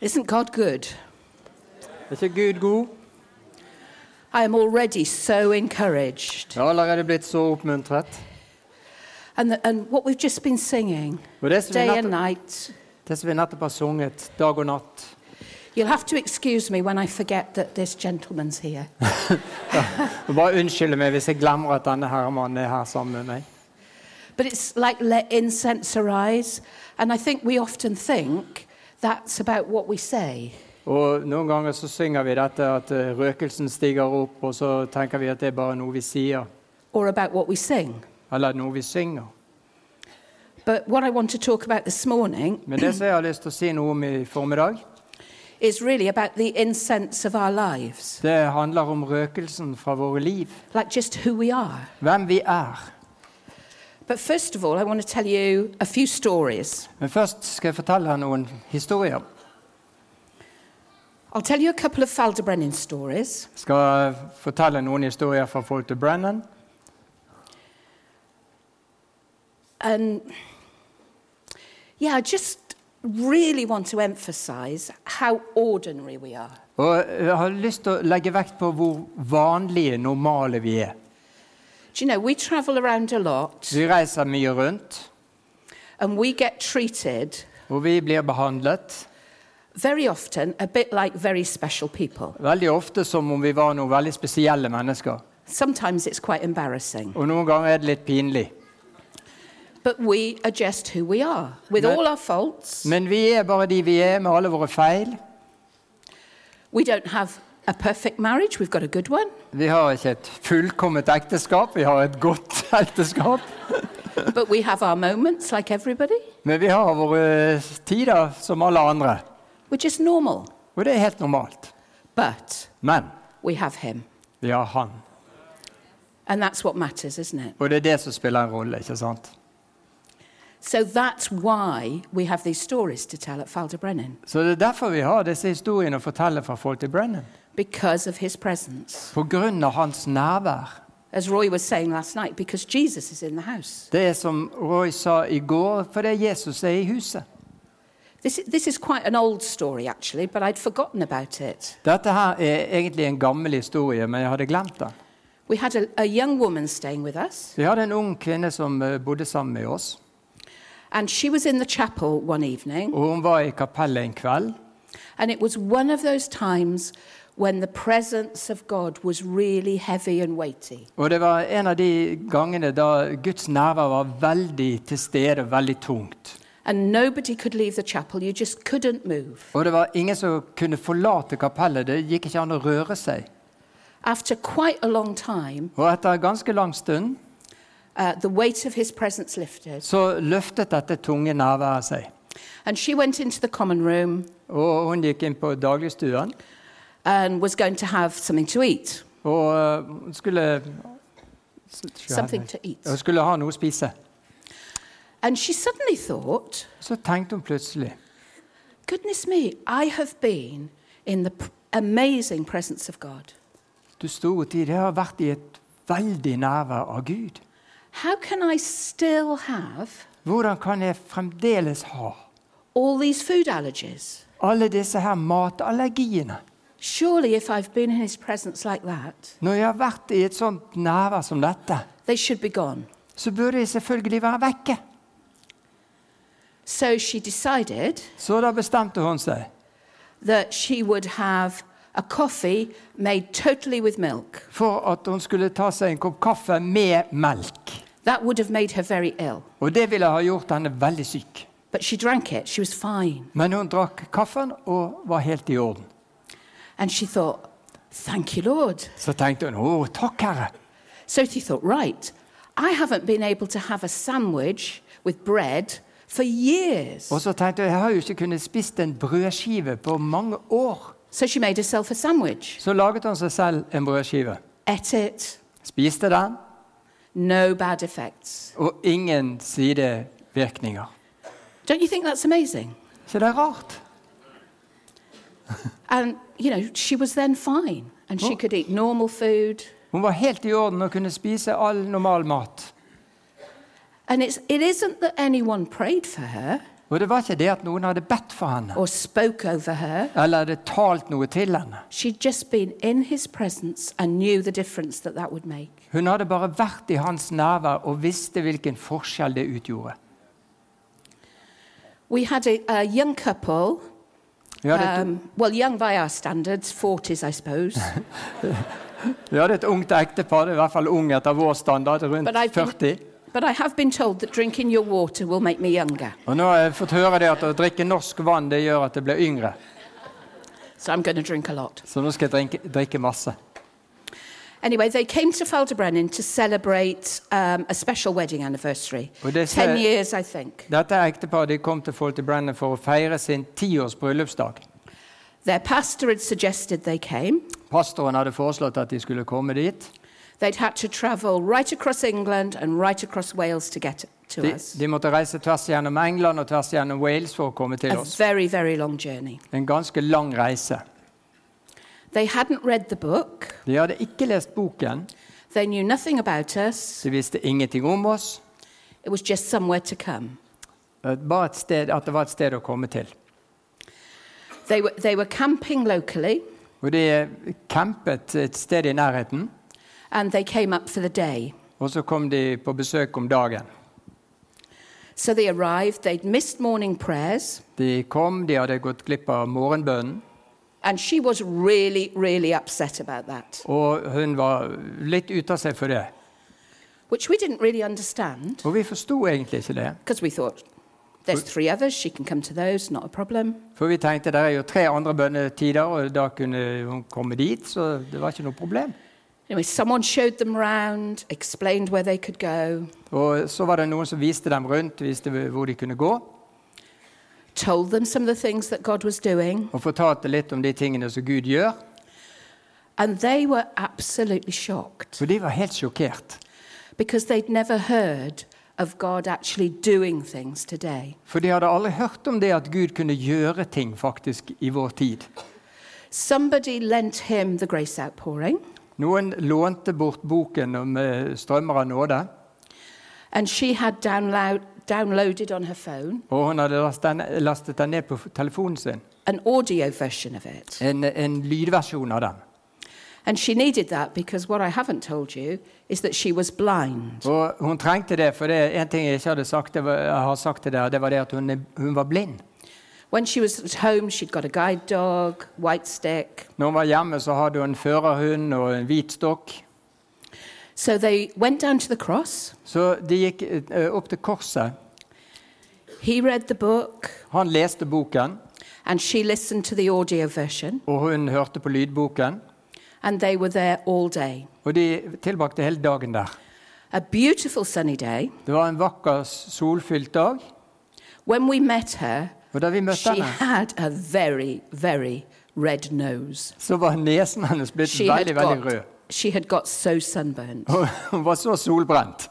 Isn't God good? Er ikke Gud god? I am already so encouraged. Jeg har allerede blitt så oppmuntret. And, and what we've just been singing, Og det som, vi day and nettopp, night. det som vi nettopp har sunget, dag og natt You'll have to excuse me when I forget that this gentleman's here. Og Bare unnskylde meg hvis jeg glemmer at denne herremannen er her sammen med meg. But it's like let incense arise. And I think we often think that's about what we say. Og Noen ganger så synger vi dette at eh, røkelsen stiger opp, og så tenker vi at det er bare noe vi sier, or about what we sing. eller noe vi synger. But what I want to talk about this morning Men det som jeg har lyst til å si noe om i formiddag, is really about the incense of our lives, det handler om røkelsen fra våre liv. like just who we are. Hvem vi er. But first of all, I want to tell you a few stories. Men først skal jeg fortelle noen historier. I'll tell you a couple of Faldebrennen stories, Jeg skal fortelle noen historier fra folk til Brennan. and Um, yeah, I just really want to emphasize how ordinary we are. Og jeg har lyst til å legge vekt på hvor vanlige, normale vi er. Do you know, we travel around a lot Vi reiser mye rundt, and we get treated og vi blir behandlet very often a bit like very special people. veldig ofte som om vi var noen veldig spesielle mennesker. Sometimes it's quite embarrassing. Og noen ganger er det litt pinlig. But we are just who we are, with No. all our faults. Men vi er bare de vi er, med alle våre feil. We don't have a perfect marriage, we've got a good one. Vi har ikke et fullkomment ekteskap, vi har et godt ekteskap. but we have our moments, like everybody. Men vi har våre tider som alle andre. We're just normal, Og det er helt normalt. but Men we have Him. vi har han. And that's what matters, isn't it? Og det er det som spiller en rolle, ikke sant? So that's why we have these stories to tell at Faldebrennen, Så det er derfor vi har disse historiene å fortelle fra folk til Brennan. because of His presence. På grunn av hans nærvær. As Roy was saying last night, because Jesus is in the house. Det er som Roy sa i går, fordi Jesus er i huset. This, i- this is quite an old story, actually, but I'd forgotten about it. Dette her er egentlig en gammel historie, men jeg hadde glemt den. We had a, a young woman staying with us. Vi hadde en ung kvinne som eh, bodde sammen med oss. And she was in the chapel one evening, Og hun var i kapellet en kveld. and it was one of those times when the presence of God was really heavy and weighty. Og det var en av de gangene da Guds nærvær var veldig til stede, veldig tungt. And nobody could leave the chapel, you just couldn't move. Og det var ingen som kunne forlate kapellet. Det gikk ikke an å røre seg. After quite a long time, Og etter en ganske lang stund uh, the weight of his presence lifted, så løftet dette tunge nærværet seg. and she went into the common room Og hun gikk inn på dagligstuen and was going to have something to eat. og eh, hun skulle Something to eat. Hun skulle ha noe å spise. And she suddenly thought, Så tenkte hun plutselig goodness me, I have been in the p- amazing presence of God. Du store tid, jeg har vært i et veldig nærvær av Gud. How can I still have Hvordan kan jeg fremdeles ha all these food allergies. alle disse her matallergiene? Surely, if I've been in his presence like that, Når jeg har vært i et sånt nærvær som dette, they should be gone. så burde jeg selvfølgelig være vekke. So she decided Så da bestemte hun seg that she would have a coffee made totally with milk. for at hun skulle ta seg en kopp kaffe med melk. That would have made her very ill. Og det ville ha gjort henne veldig syk. But she drank it, she was fine. Men hun drakk kaffen og var helt i orden. And she thought, Thank you, Lord. Så tenkte hun 'Å, takk, Herre'. So she thought, Right, I haven't been able to have a sandwich with bread for years. Og så tenkte hun 'Jeg har jo ikke kunnet spist en brødskive på mange år'. So she made herself a sandwich, Så laget hun seg selv en brødskive. ate it, Spiste den, no bad effects. og ingen sidevirkninger. Don't you think that's amazing? Så det er rart. And, you know, she was then fine and she could eat normal food. Hun var helt i orden og kunne spise all normal mat. And it's, it isn't that anyone prayed for her, Og det var ikke det at noen hadde bedt for henne, or spoke over her. eller hadde talt noe til henne. She'd just been in his presence and knew the difference that that would make. Hun hadde bare vært i hans nærvær og visste hvilken forskjell det utgjorde. We had a, a young couple, Vi hadde et, um, well, young by our standards, 40s, I suppose. vi hadde et ungt ektepar, det er i hvert fall ung etter vår standard, rundt But I've been- 40. but I have been told that drinking your water will make me younger. Og nå har jeg fått høre det at å drikke norsk vann det gjør at jeg blir yngre. So I'm going to drink a lot. Så nå skal jeg drinke, drikke masse. Anyway, they came to Feldebrennen to celebrate um, a special wedding anniversary. Well, they Ten say- years, I think. Dette ekteparet de kom til Fawlty Brennan for å feire sin tiårs bryllupsdag. Their pastor had suggested they came. Pastoren hadde foreslått at de skulle komme dit. They'd had to travel right across England and right across Wales to get to De, us. de måtte reise tvers gjennom England og tvers gjennom Wales for å komme til A oss. very, very long journey. En ganske lang reise. They hadn't read the book. De hadde ikke lest boken, They knew nothing about us. de visste ingenting om oss. It was just somewhere to come. eh, Bare et sted, at det var et sted å komme til. They were, they were camping locally Og de campet et sted i nærheten, and they came up for the day. og så kom de på besøk om dagen. So they arrived, they'd missed morning prayers, De kom, de hadde gått glipp av morgenbønnen, and she was really, really upset about that, og hun var litt ute av seg for det. which we didn't really understand Og vi forsto egentlig ikke det, because we thought, there's three others, she can come to those, not a problem. for vi tenkte det er jo tre andre bønnetider, og da kunne hun komme dit, så det var ikke noe problem. Anyway, someone showed them round, explained where they could go, Og så var det noen som viste dem rundt, viste hvor de kunne gå, told them some of the things that God was doing, og fortalte litt om de tingene som Gud gjør. and they were absolutely shocked For de var helt sjokkert. because they'd never heard of God actually doing things today. For de hadde aldri hørt om det at Gud kunne gjøre ting faktisk i vår tid. Somebody lent him the grace outpouring, Noen lånte bort boken om eh, strømmer av nåde, and she had download, downloaded on her phone og hun hadde last den- lastet den ned på f- telefonen sin. an audio version of it. En, en lydversjon av den. And she needed that because what I haven't told you is that she was blind. Og hun trengte det, for det en ting jeg ikke hadde sagt, det var, jeg har sagt til dere, det var det at hun, er- hun var blind. When she was at home, she'd got a guide dog, white stick. Når hun var hjemme, så hadde hun en førerhund og en hvit stokk. So they went down to the cross. Så de gikk eh, opp til korset. He read the book, Han leste boken, and she listened to the audio version, og hun hørte på lydboken. and they were there all day. Og de tilbrakte hele dagen der. A beautiful sunny day. Det var en vakker, solfylt dag. When we met her, Og da vi møtte she henne, had a very, very red nose. så var nesen hennes blitt She veldig, had, veldig got, rød. she had got so sunburned. Og hun var så solbrent.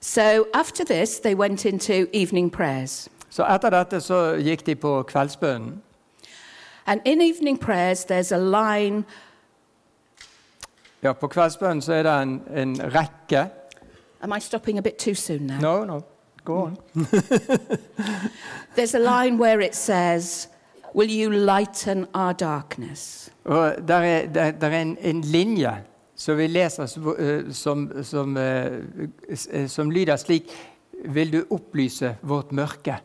So after this, they went into evening prayers. Så etter dette så gikk de på kveldsbønnen. And in evening prayers, there's a line Ja, på kveldsbønnen så er det en, en rekke. Am I stopping a bit too soon now? No, no. Go on. There's a line where it says, Will you lighten our darkness? Og der er, der, der er en, en linje som vi leser som, eh, som, som, eh, s- eh, som lyder slik Vil du opplyse vårt mørke?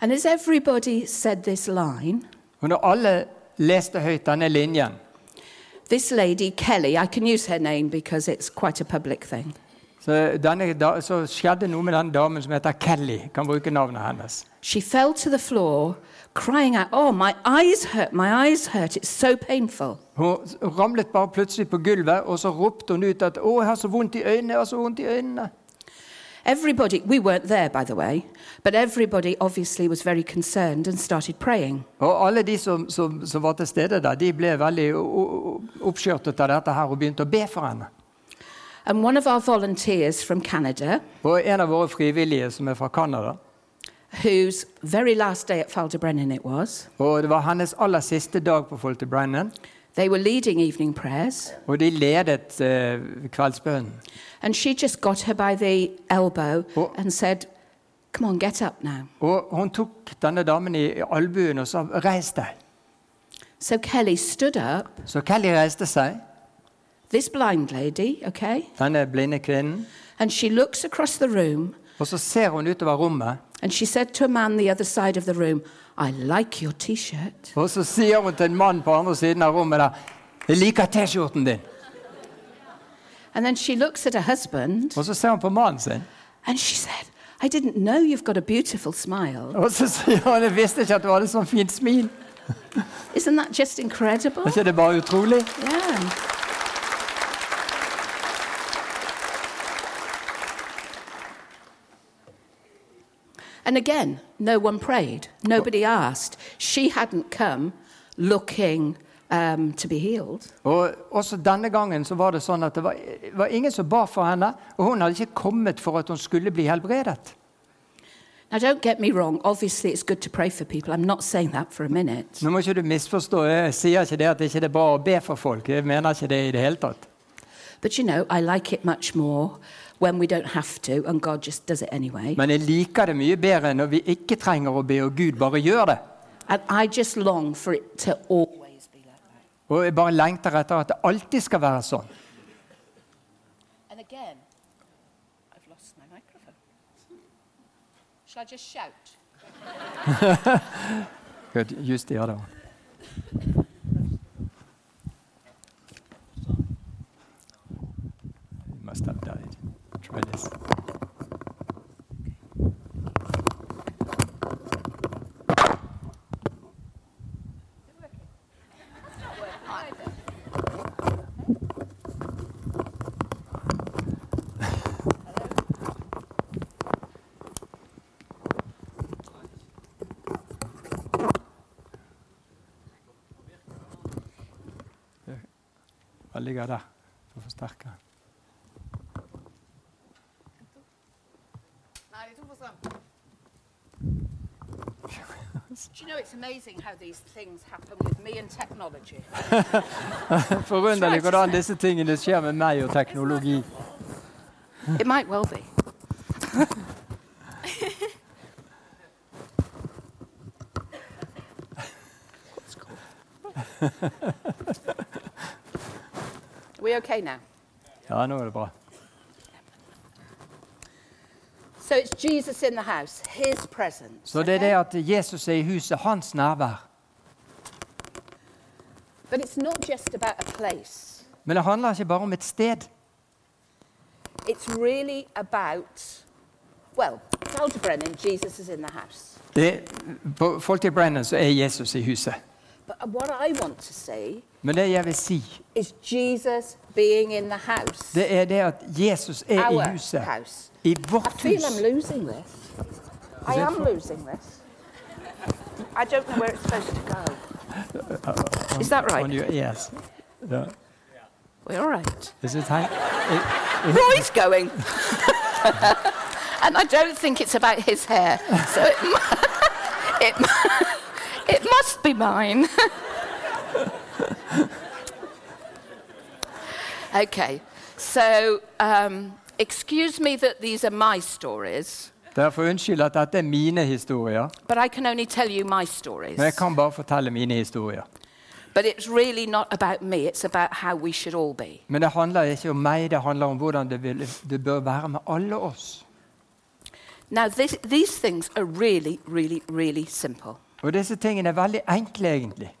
And as everybody said this line, Og når alle leste høyt denne linjen, this lady, Kelly, I can use her name because it's quite a public thing. så, denne, da, så skjedde noe med den damen som heter Kelly. Kan bruke navnet hennes. She fell to the floor, crying out, Oh, my eyes hurt, my eyes hurt, it's so painful. Hun s- ramlet bare plutselig på gulvet, og så ropte hun ut at 'Å, jeg har så vondt i øynene', jeg har så vondt i øynene. Everybody, we weren't there by the way, but everybody obviously was very concerned and started praying. Og alle de som, som, som var til stede der, de ble veldig o- o- oppskjørtet av dette her og begynte å be for henne. And one of our volunteers from Canada, Og en av våre frivillige som er fra Canada. whose very last day at Faldebrennen it was, Og det var hennes aller siste dag på Fawlty Brennan, they were leading evening prayers. og de ledet eh, kveldsbønnen. And she just got her by the elbow Oh. and said, Come on, get up now. Og hun tok denne damen i albuen og sa 'reis deg'. So Kelly stood up, Så Kelly reiste seg, this blind lady, okay? denne blinde kvinnen, And she looks across the room og så ser hun utover rommet. and she said to a man the other side of the room, I like your t shirt. Og så sier hun til en mann på andre siden av rommet der 'Jeg liker T-skjorten din'. And then she looks at her husband Og så ser hun på mannen sin, and she said, I didn't know you've got a beautiful smile. og så sier hun 'Jeg visste ikke at du hadde så fint smil'. Isn't that just incredible? Er ikke det bare utrolig? Yeah. And again, no one prayed. Nobody asked. She hadn't come looking um, to be healed. Og også denne gangen så var det sånn at det var, var ingen som ba for henne, og hun hadde ikke kommet for at hun skulle bli helbredet. Now, don't get me wrong. Obviously, it's good to pray for people. I'm not saying that for a minute. Nå må ikke du misforstå, jeg sier ikke det at det ikke er bra å be for folk. Jeg mener ikke det i det hele tatt. But you know, I like it much more when we don't have to and God just does it anyway. Men jeg liker det mye bedre når vi ikke trenger å be, og Gud bare gjør det. And I just long for it to always be like that. Og jeg bare lengter etter at det alltid skal være sånn. And again, I've lost my microphone. Shall I just shout? Good, just the other one. You must have died. Try this. Den ligger der for forsterkeren. Nei, de to for strøm. Do you know it's amazing how these things happen with me and technology? Forunderlig hvordan disse tingene skjer med meg og teknologi. It might well be. It's cool. Are we okay now? Ja, nå er det bra. So it's Jesus in the house, his presence. Så det er det at Jesus er i huset, hans nærvær. But it's not just about a place. Men det handler ikke bare om et sted. It's really about, well, Waldebrennen, Jesus is in the house. Det, på Folket Brennan så er Jesus i huset. But what I want to see Men det jeg vil si, is Jesus being in the house. det er det at Jesus er i Our huset. house. I I vårt feel hus. I'm losing this. I it am for- losing this. I don't know where it's supposed to go. Is that Uh, On right? your ears. Ja. We're all right. Is it hang- i- Roy's going. and I don't think it's about his hair. So it, mu- it, mu- it must be mine. okay, so um, excuse me that these are my stories, Derfor unnskyld at dette er mine historier. but I can only tell you my stories. Men jeg kan bare fortelle mine historier. But it's really not about me, it's about how we should all be. Men det handler ikke om meg, det handler om hvordan det, vil, det bør være med alle oss. Now, this, these things are really, really, really simple. Og disse tingene er veldig enkle, egentlig.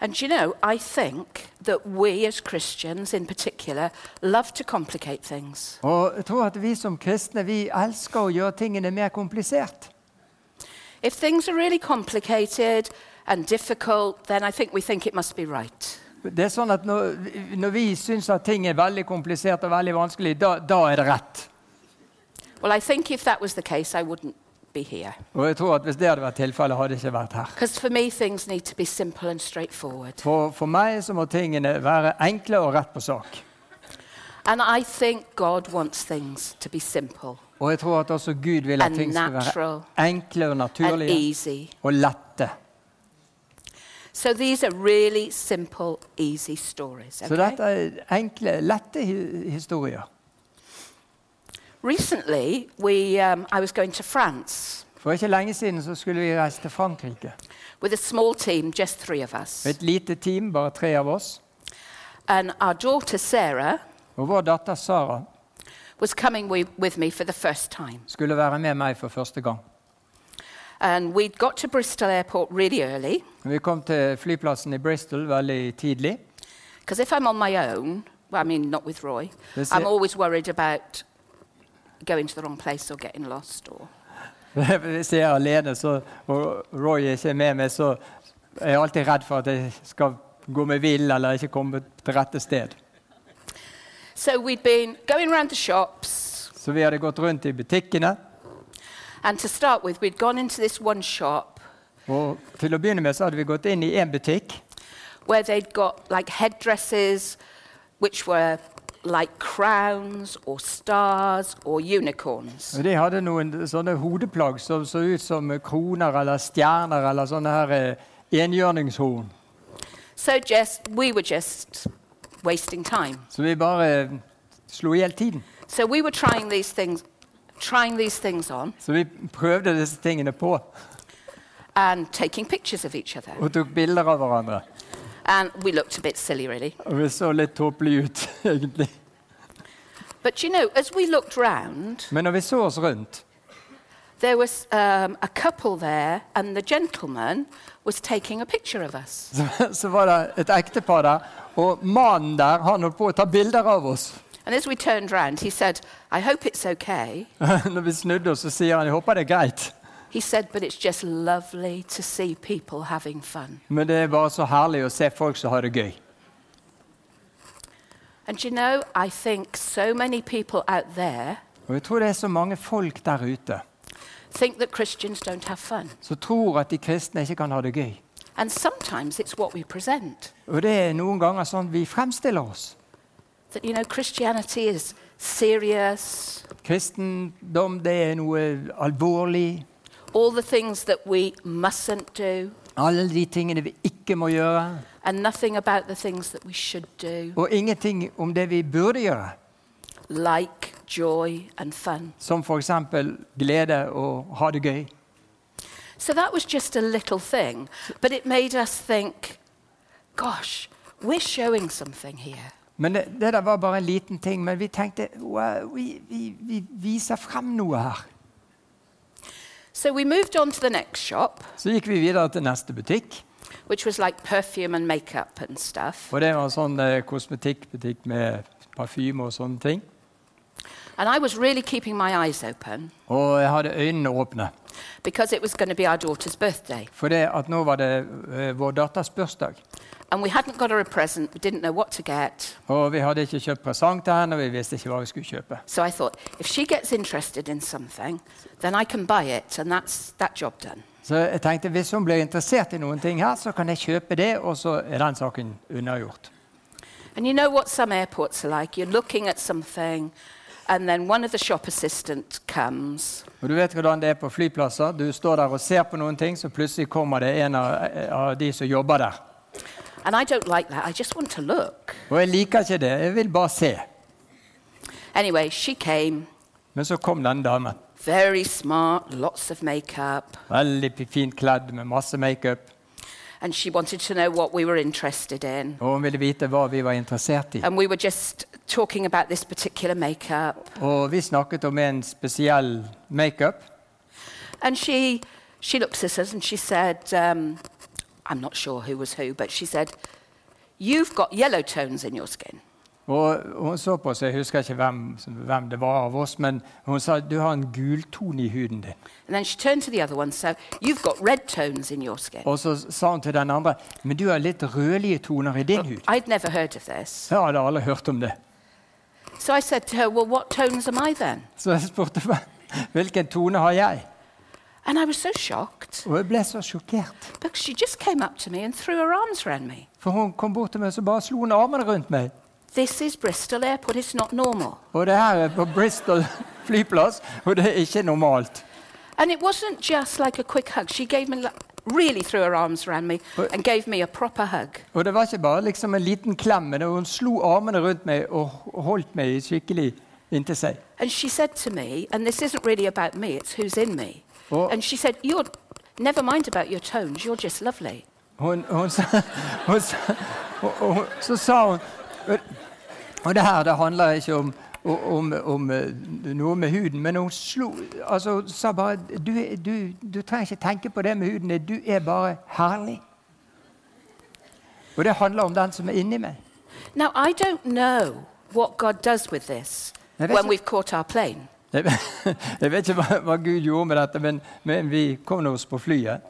And do you know, I think that we as Christians in particular love to complicate things. Og jeg tror at vi som kristne vi elsker å gjøre tingene mer komplisert. If things are really complicated and difficult, then I think we think it must be right. Det er sånn at Når, når vi syns at ting er veldig komplisert og veldig vanskelig, da, da er det rett. Well, I think if that was the case, I wouldn't be here. Og jeg tror at Hvis det hadde vært tilfellet, hadde jeg ikke vært her. Because for me, things need to be simple and straightforward. For, for meg så må tingene være enkle og rett på sak. And I think God wants things to be simple Og jeg tror at også Gud vil at And ting skal være natural. enkle og and naturlige easy. og lette. So these are really simple, easy stories. Så Okay? dette er enkle, lette hi- historier. Recently, we, um, I was going to France For ikke lenge siden så skulle vi reise til Frankrike. with a small team, just three of us. Et lite team, bare tre av oss. And our daughter, Sarah, Og vår datter Sara was coming wi- with me for the first time. skulle være med meg for første gang. And we'd got to Bristol Airport really early, Vi kom til flyplassen i Bristol veldig tidlig. because if I'm on my own, well, I mean, not with Roy, That's I'm it. always worried about going to the wrong place or getting lost. Or Hvis jeg er alene, så, og Roy er ikke med meg, så er jeg alltid redd for at jeg skal gå meg vill eller ikke komme til rette sted. So we'd been going round the shops, Så vi hadde gått rundt i butikkene, and to start with, we'd gone into this one shop og til å begynne med så hadde vi gått inn i én butikk. where they'd got like headdresses, which were like crowns or stars or unicorns. Og De hadde noen sånne hodeplagg som så ut som kroner eller stjerner eller sånne her eh, enhjørningshorn. So just we were just wasting time. Så vi bare eh, slo i hjel tiden. So we were trying these things, trying these things on, Så vi prøvde disse tingene på and taking pictures of each other. og tok bilder av hverandre. And we looked a bit silly, really. Og vi så litt tåpelige ut, egentlig. But you know, as we looked round, Men når vi så oss rundt, there was um, a couple there, and the gentleman was taking a picture of us. så, så var det et ektepar der. Og mannen der han holdt på å ta bilder av oss. And as we turned round, he said, "I hope it's okay." Når vi snudde oss, så sier han 'jeg håper det er greit', He said, "But it's just lovely to see people having fun." men det er bare så herlig å se folk som har det gøy. And you know, I think so many people out there Og jeg tror det er så mange folk der ute think that Christians don't have fun. som tror at de kristne ikke kan ha det gøy. And sometimes it's what we present Og det er noen ganger sånn vi fremstiller oss. that, you know, Christianity is serious, Kristendom, det er noe alvorlig. all the things that we mustn't do, Alle de tingene vi ikke må gjøre. and nothing about the things that we should do, Og ingenting om det vi burde gjøre. like joy and fun. Som f.eks. glede og ha det gøy. So that was just a little thing, but it made us think, gosh, we're showing something here. Men det, det der var bare en liten ting. Men vi tenkte wow, vi, vi, vi viser frem noe her. So we moved on to the next shop, Så gikk vi videre til neste butikk. which was like perfume and makeup and stuff. Og det var en sånn eh, kosmetikkbutikk med parfyme og sånne ting. And I was really keeping my eyes open Og jeg hadde øynene åpne. because it was going to be our daughter's birthday. For det at nå var det eh, vår datters bursdag. And we hadn't got her a present. We didn't know what to get. Og vi hadde ikke kjøpt presang til henne, og vi visste ikke hva vi skulle kjøpe. So I thought, if she gets interested in something, then I can buy it, and that's that job done. Så jeg tenkte hvis hun blir interessert i noen ting her, så kan jeg kjøpe det, og så er den saken unnagjort. And you know what some airports are like? You're looking at something, and then one of the shop assistants comes, Og du vet hvordan det er på flyplasser. Du står der og ser på noen ting, så plutselig kommer det en av, av de som jobber der. and I don't like that. I just want to look. Og jeg liker ikke det. Jeg vil bare se. Anyway, she came, Men så kom denne damen. very smart, lots of makeup, Veldig p- fint kledd med masse makeup. and she wanted to know what we were interested in. Og hun ville vite hva vi var interessert i. And we were just talking about this particular makeup. Og vi snakket om en spesiell makeup. And she, she looks at us and she said, um, I'm not sure who was who, but she said, You've got yellow tones in your skin. Og hun så på oss, jeg husker ikke hvem, som- hvem det var av oss, men hun sa du har en gulton i huden din. And then she turned to the other one, so you've got red tones in your skin. Og så sa hun til den andre men du har litt rødlige toner i din hud. I'd never heard of this. Så hadde alle hørt om det. So I said to her, Well, what tones am I then? Så jeg spurte hva- hvilken tone har jeg? And I was so shocked Og jeg ble så sjokkert. because she just came up to me and threw her arms around me. For hun kom bort til meg og bare slo hun armene rundt meg. This is Bristol Airport, it's not normal. Og det her er på Bristol flyplass, og det er ikke normalt. And it wasn't just like a quick hug. She gave me, like, really threw her arms around me But- and gave me a proper hug. Og det var ikke bare liksom en liten klem, men hun slo armene rundt meg og holdt meg i skikkelig inntil seg. And she said to me, and this isn't really about me, it's who's in me. Oh. And she said, You're never mind about your tones, you're just lovely. Hun, hun, sa- hun, sa- og, og, hun- så sa hun Og det her det handler ikke om, om, om eh, noe med huden, men hun slo altså, Hun sa bare du, er- du, du trenger ikke tenke på det med huden din. Du er bare herlig. Og det handler om den som er inni meg. Now, I don't know what God does with this Now, that's when a- we've caught our plane. Jeg, vet- jeg vet ikke hva, hva Gud gjorde med dette, men, men vi kom nå oss på flyet.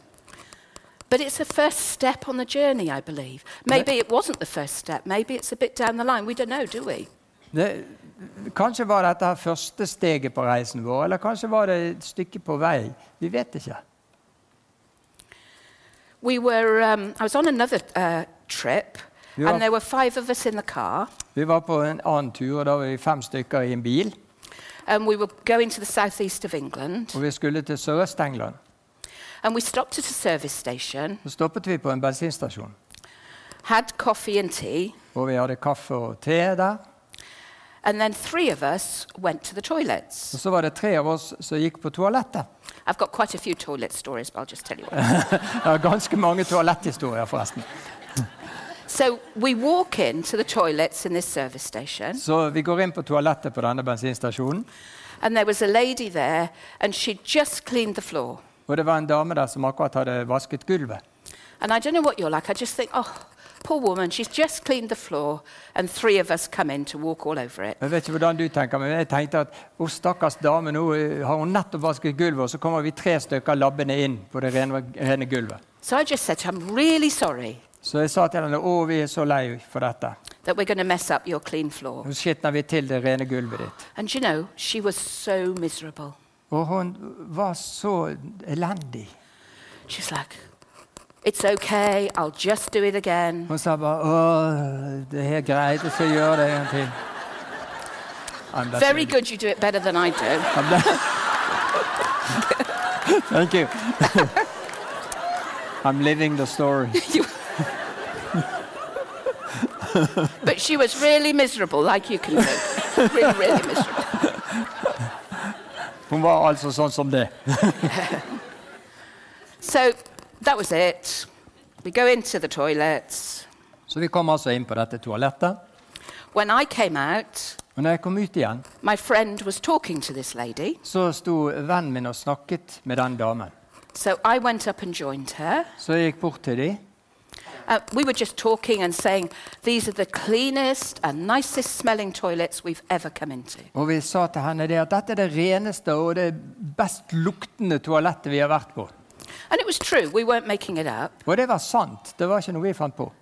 But it's a first step on the journey, I believe. Maybe it wasn't the first step. Maybe it's a bit down the line. We don't know, do we? Det, kanskje var dette her første steget på reisen vår, eller kanskje var det et stykke på vei. Vi vet ikke. We were, um, I was on another uh, trip, Yeah. and there were five of us in the car, Vi var på en annen tur, og da var vi fem stykker i en bil. and we were going to the southeast of England. Og vi skulle til Sørøst-England. And we stopped at a service station, Så stoppet vi på en bensinstasjon, had coffee and tea, og vi hadde kaffe og te der. and then three of us went to the toilets. Og så var det tre av oss som gikk på toalettet. I've got quite a few toilet stories, but I'll just tell you one. Det var ganske mange toaletthistorier, forresten. so we walk into the toilets in this service station, Så vi går inn på toalettet på denne bensinstasjonen, and there was a lady there, and she'd just cleaned the floor. og det var en dame der som akkurat hadde vasket gulvet. And I don't know what you're like. I just think, oh, poor woman, she's just cleaned the floor, and three of us come in to walk all over it. Jeg vet ikke hvordan du tenker, men jeg tenkte at å, stakkars dame, nå eh, har hun nettopp vasket gulvet, og så kommer vi tre stykker labbende inn på det rene, rene gulvet. So I just said to her, I'm really sorry Så jeg sa til henne å, vi er så lei for dette. that we're going to mess up your clean floor. Nå skitner vi til det rene gulvet ditt. And you know, she was so miserable. Og hun var så elendig. She's like, it's okay, I'll just do it again. Hun sa bare å, det er greit, og så gjør det en til. I'm that Very lady. good, you do it better than I do. I'm that... Thank you. I'm living the story. But she was really miserable, like you can do. really, really miserable. Hun var altså sånn som det. So that was it. We go into the toilets. Så vi kom altså inn på dette toalettet. When I came out, Og når jeg kom ut igjen, my friend was talking to this lady. så sto vennen min og snakket med den damen. So I went up and joined her. Så jeg gikk bort til dem. Uh, we were just talking and saying, these are the cleanest and nicest smelling toilets we've ever come into. Og vi sa til henne det at dette er det reneste og det best luktende toalettet vi har vært på. And it was true, we weren't making it up. Og det var sant. Det var ikke noe vi fant på.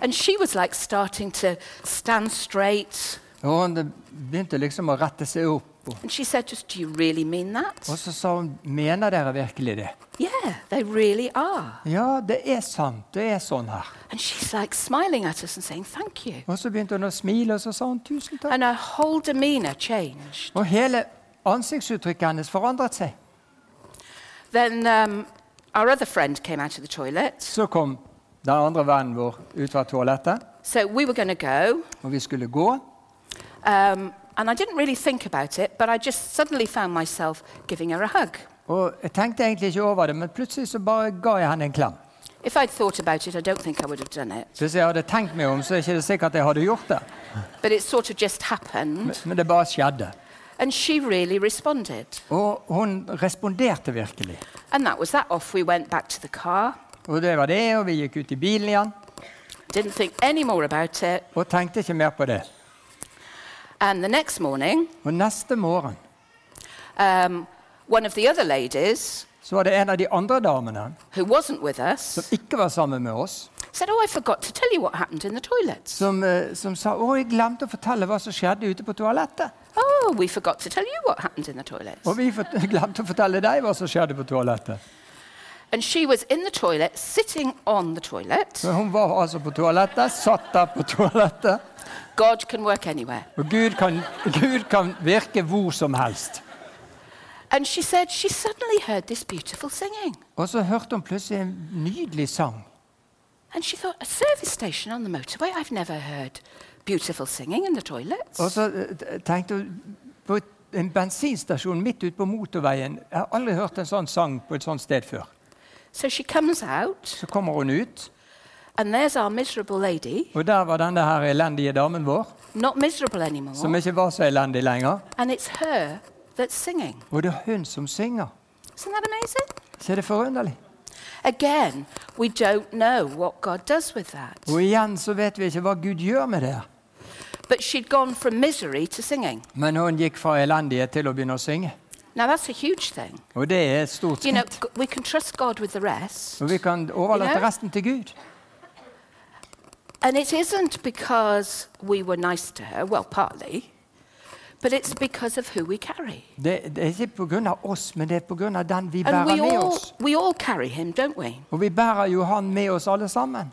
And she was like starting to stand straight. Og hun begynte liksom å rette seg opp. Og- And she said, just, do you really mean that? Og så sa hun Mener dere virkelig det? Yeah, they really are. Ja, det er sant. Det er sånn her. And she's like smiling at us and saying, thank you. Og så begynte hun å smile, og så sa hun tusen takk. And her whole demeanor changed. Og hele ansiktsuttrykket hennes forandret seg. Then um, our other friend came out of the toilet. Så kom den andre vennen vår ut fra toalettet, So we were going to go. og vi skulle gå. Um, and I didn't really think about it, but I just suddenly found myself giving her a hug. Og jeg tenkte egentlig ikke over det, men plutselig så bare ga jeg henne en klem. If I'd thought about it, I don't think I would have done it. Hvis jeg hadde tenkt meg om, så er ikke det sikkert jeg hadde gjort det. But it sort of just happened. Men det bare skjedde. And she really responded. Og hun responderte virkelig. And that was that. Off we went back to the car. Og det var det, og vi gikk ut i bilen igjen. Didn't think any more about it. Og tenkte ikke mer på det. And the next morning, Og neste morgen um, one of the other ladies så var det en av de andre damene who wasn't with us som ikke var sammen med oss, said, Oh, I forgot to tell you what happened in the toilets. som, eh, som sa 'Å, jeg glemte å fortelle hva som skjedde ute på toalettet'. Oh, we forgot to tell you what happened in the toilets. Og vi fort- glemte å fortelle deg hva som skjedde på toalettet. And she was in the toilet, sitting on the toilet. Men hun var altså på toalettet, satt der på toalettet. God can work anywhere. Og Gud kan, Gud kan virke hvor som helst. And she said she suddenly heard this beautiful singing. Og så hørte hun plutselig en nydelig sang. And she thought, a service station on the Oh. motorway? I've never heard beautiful singing in the toilets. Og så eh, tenkte hun på en bensinstasjon midt ute på motorveien. Jeg har aldri hørt en sånn sang på et sånt sted før. So she comes out, Så kommer hun ut, and there's our miserable lady, og der var denne her elendige damen vår, not miserable som anymore, ikke var så elendig lenger. and it's her that's singing. Og det er hun som synger. Isn't that amazing? Så er det forunderlig. Again, we don't know what God does with that. Og igjen så vet vi ikke hva Gud gjør med det. But she'd gone from misery to singing. Men hun gikk fra elendighet til å begynne å synge. Now, that's a huge thing. Og det er et stort You know, skritt. g- we can trust God with the rest. Og vi kan overlate resten til Gud. And it isn't because we were nice to her, well, partly, but it's because of who we carry. Det, det er ikke pga. oss, men det er pga. den vi And bærer we med all, oss. we all carry him, don't we? Og vi bærer jo han med oss alle sammen.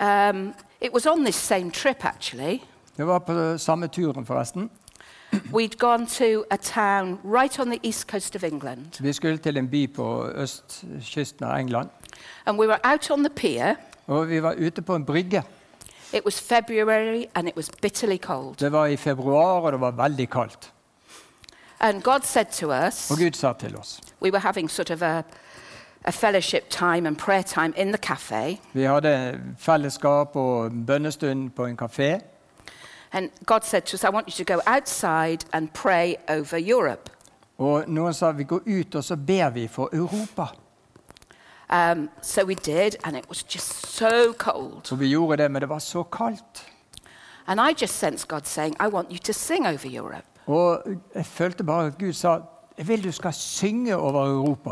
Um, it was on this same trip, actually. Det var på samme turen, forresten. We'd gone to a town right on the east coast of England, Vi skulle til en by på østkysten av England. and we were out on the pier. Og vi var ute på en brygge. It was February, and it was bitterly cold. Det var i februar, og det var veldig kaldt. And God said to us, Og Gud sa til oss we were having sort of a, a fellowship time and prayer time in the cafe, Vi hadde fellesskap og bønnestund på en kafé. and God said to us, I want you to go outside and pray over Europe. Og noen sa vi går ut, og så ber vi for Europa. Um, so we did, and it was just so cold. Så vi gjorde det, men det var så kaldt. And I just sensed God saying, I want you to sing over Europe. Og jeg følte bare at Gud sa jeg vil du skal synge over Europa.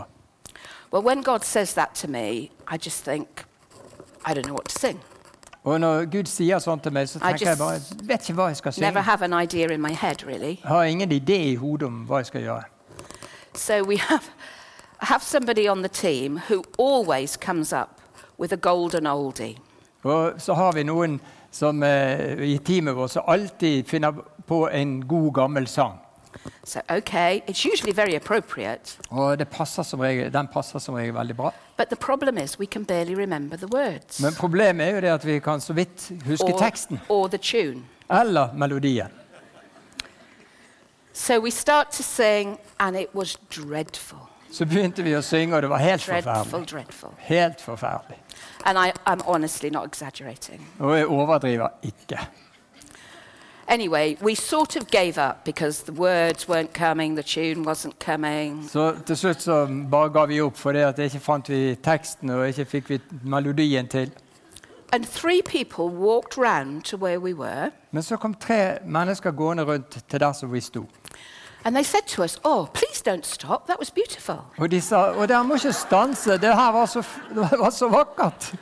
Well, when God says that to me, I just think, I don't know what to sing. Og når Gud sier sånn til meg, så I tenker jeg just bare jeg vet ikke hva jeg skal Never synge. have an idea in my head, really. Jeg har ingen idé i hodet om hva jeg skal gjøre. So we have, I have somebody on the team who always comes up with a golden oldie. Og så har vi noen som eh, i teamet vårt som alltid finner på en god, gammel sang. So, okay, it's usually very appropriate, Og det passer som regel, den passer som regel veldig bra. but the problem is we can barely remember the words Men problemet er jo det at vi kan så vidt huske or, teksten. or the tune. Eller melodien. So we start to sing, and it was dreadful, Så begynte vi å synge, og det var helt dreadful, forferdelig. dreadful. Helt forferdelig. And I, I'm honestly not exaggerating. Og jeg overdriver ikke. Anyway, we sort of gave up because the words weren't coming, the tune wasn't coming. Så til slutt så bare ga vi opp, for det at ikke fant vi teksten, og ikke fikk vi melodien til. And three people walked round to where we were, Men så kom tre mennesker gående rundt til der som vi sto. and they said to us, Oh, please don't stop, that was beautiful. Og de sa Og dere må ikke stanse, det her var så, f- det var så vakkert.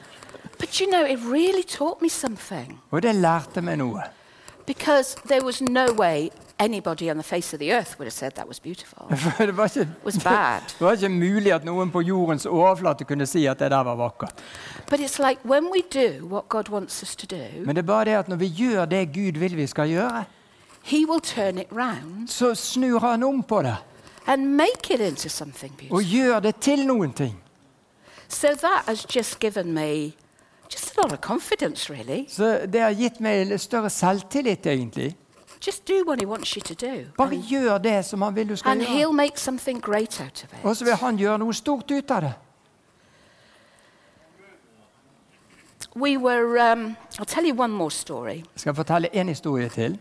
But you know, it really taught me something. Og det lærte meg noe. Because there was no way anybody on the face of the earth would have said that was beautiful. For det var ikke, It was bad. det var ikke mulig at noen på jordens overflate kunne si at det der var vakkert. But it's like when we do what God wants us to do, Men det er bare det at når vi gjør det Gud vil vi skal gjøre, He will turn it round så snur han om på det. and make it into something Og beautiful. gjør det til noen ting. So that has just given me just a lot of confidence, really. Så det har gitt meg litt større selvtillit, egentlig. Just do what He wants you to do. Bare gjør det som han vil du skal And gjøre. He'll make something great out of it. Og så vil han gjøre noe stort ut av det. We were, um, I'll tell you one more story. Jeg skal fortelle en historie til.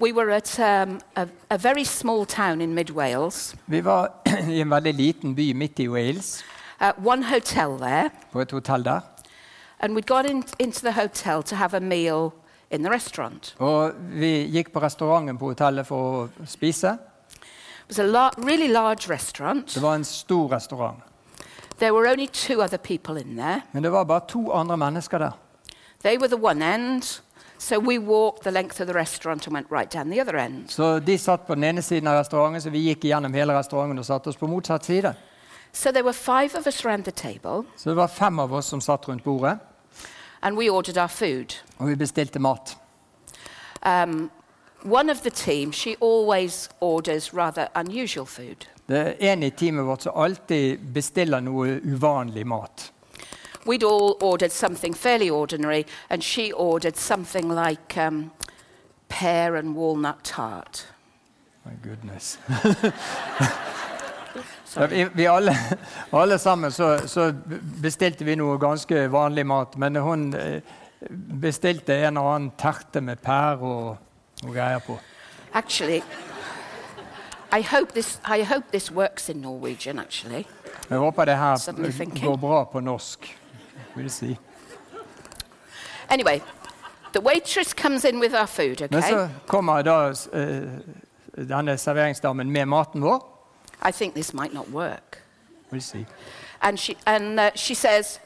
We were at um, a, a very small town in mid Wales, Vi var i en veldig liten by midt i Wales, at uh, one hotel there. på et hotell der. And we'd got in, into the hotel to have a meal in the restaurant. Og vi gikk på restauranten på hotellet for å spise. It was a lar- really large restaurant. Det var en stor restaurant. There were only two other people in there. Men det var bare to andre mennesker der. They were the one end, so we walked the length of the restaurant and went right down the other end. Så de satt på den ene siden av restauranten, så vi gikk gjennom hele restauranten og satte oss på motsatt side. So there were five of us round the table, Så det var fem av oss som satt rundt bordet, and we ordered our food. og vi bestilte mat. Um, one of the team, she always orders rather unusual food. Det er en i teamet vårt som alltid bestiller noe uvanlig mat. We'd all ordered something fairly ordinary, and she ordered something like um, pear and walnut tart. My goodness. Ja, vi vi alle, alle sammen så, så bestilte vi noe ganske vanlig mat, men hun eh, bestilte en og annen terte med pære og, og greier på. Actually, I hope this, I hope this works in Norwegian, actually. Jeg håper det Suddenly her thinking. går bra på norsk, vil jeg si. Anyway, the waitress comes in with our food, Men okay? så kommer da eh, denne serveringsdamen med maten vår, I think this might not work. vil jeg si. And she, and, uh, she says,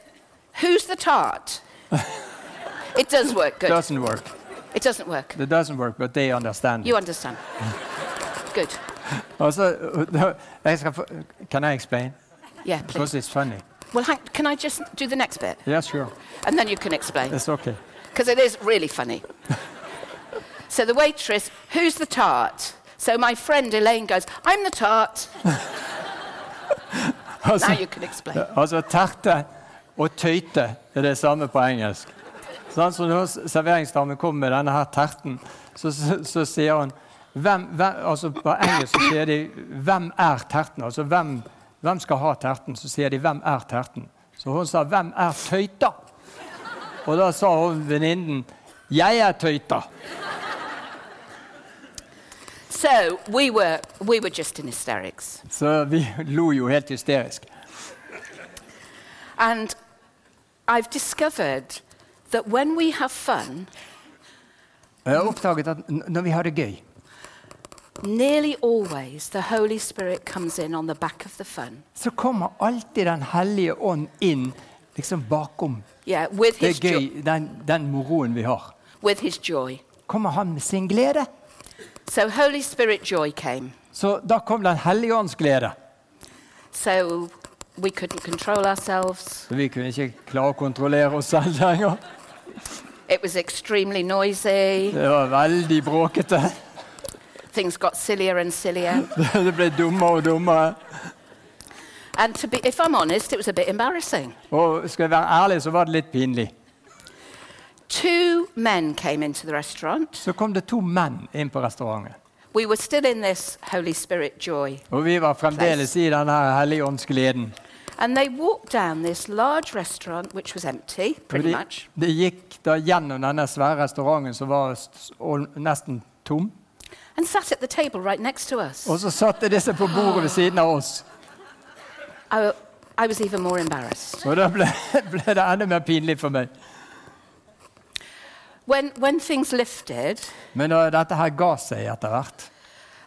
Who's the tart? it does work good. Doesn't work. It doesn't work. It doesn't work, but they understand. You understand. good. Altså, da- jeg skal få, can I explain? Yeah, please. Because it's funny. Well, hang, can I just do the next bit? Yeah, sure. And then you can explain. It's okay. Because it is really funny. so the waitress, Who's the tart? So my friend Elaine goes, I'm the tart. Altså, Now you can explain. Altså, terte og tøyte er det samme på engelsk. Sånn, så når serveringsdamen kommer med denne her terten, så, så, så sier hun hvem, hvem, altså På engelsk så sier de 'Hvem er terten?' Altså hvem, hvem skal ha terten? Så sier de 'Hvem er terten?' Så hun sa 'Hvem er tøyta?' Og da sa hun venninnen 'Jeg er tøyta'. So we were, we were just in hysterics. Så vi lo jo helt hysterisk. And I've discovered that when we have fun, Jeg har oppdaget at n- når vi har det gøy, nearly always the Holy Spirit comes in on the back of the fun. så kommer alltid Den hellige ånd inn liksom bakom Yeah, with Det his, er jo- gøy, den, den moroen vi har. with his joy. Kommer han med sin glede? So Holy Spirit joy came. Så da kom Den hellige ånds glede. So we couldn't control ourselves. Så vi kunne ikke klare å kontrollere oss selv lenger. It was extremely noisy. Det var veldig bråkete. Things got sillier and sillier. Det ble dummere og dummere. and to be, if I'm honest, it was a bit embarrassing. Og skal jeg være ærlig, så var det litt pinlig. Two men came into the restaurant. Så kom det to menn inn på restauranten. We were still in this Holy Spirit joy Og vi var fremdeles i den her hellige ånds gleden. And they walked down this large restaurant, which was empty, Og pretty de, much. de gikk da gjennom denne svære restauranten som var s- all- nesten tom. And sat at the table right next to us. Og så satt disse på bordet ved siden av oss. I, I was even more embarrassed. Og da ble, ble det enda mer pinlig for meg. When, when things lifted, Men da dette her ga seg etter hvert,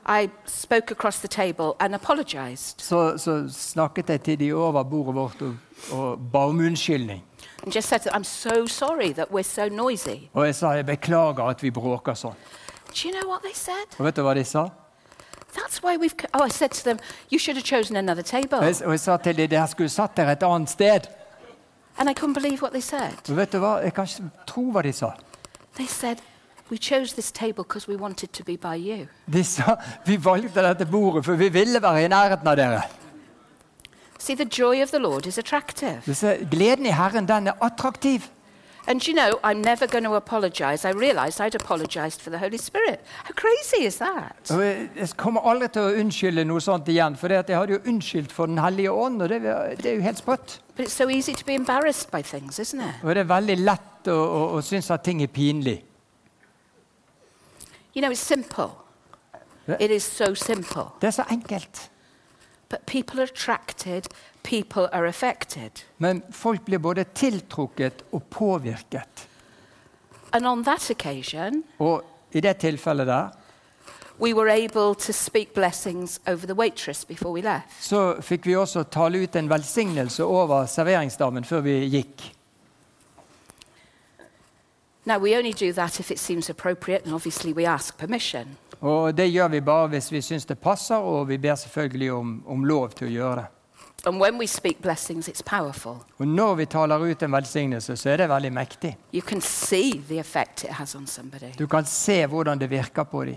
I spoke across the table and apologized så, så snakket jeg til de over bordet vårt og, og ba om unnskyldning. and just said, that I'm so sorry that we're so noisy. Og jeg sa jeg beklager at vi bråker sånn. Do you know what they said? Og vet du hva de sa? That's why we've. Co- oh, I said to them, you should have chosen another table. Og jeg, og jeg sa til de dere skulle satt dere et annet sted. And I couldn't believe what they said. Og vet du hva? Jeg kan ikke tro hva de sa. They said, we chose this table because we wanted to be by you. De sa vi valgte dette bordet for vi ville være i nærheten av dere. See, the joy of the Lord is attractive. Du ser, gleden i Herren, den er attraktiv. And you know, I'm never going to apologize. I realized I'd apologized for the Holy Spirit. How crazy is that? Og jeg jeg kommer aldri til å unnskylde noe sånt igjen, for det at jeg hadde jo unnskyldt for Den hellige ånd, og det, det er jo helt sprøtt. But it's so easy to be embarrassed by things, isn't it? Og det er veldig lett å, å, å synes at ting er pinlig. You know, it's simple. Yeah. It is so simple. Det er så enkelt. But people are attracted, people are affected. Men folk blir både tiltrukket og påvirket. And on that occasion, Og i det tilfellet der we were able to speak blessings over the waitress before we left. så fikk vi også tale ut en velsignelse over serveringsdamen før vi gikk. Now, we only do that if it seems appropriate, and obviously we ask permission. Og det gjør vi bare hvis vi syns det passer, og vi ber selvfølgelig om, om lov til å gjøre det. And when we speak blessings, it's powerful. Og når vi taler ut en velsignelse, så er det veldig mektig. You can see the effect it has on somebody. Du kan se hvordan det virker på dem.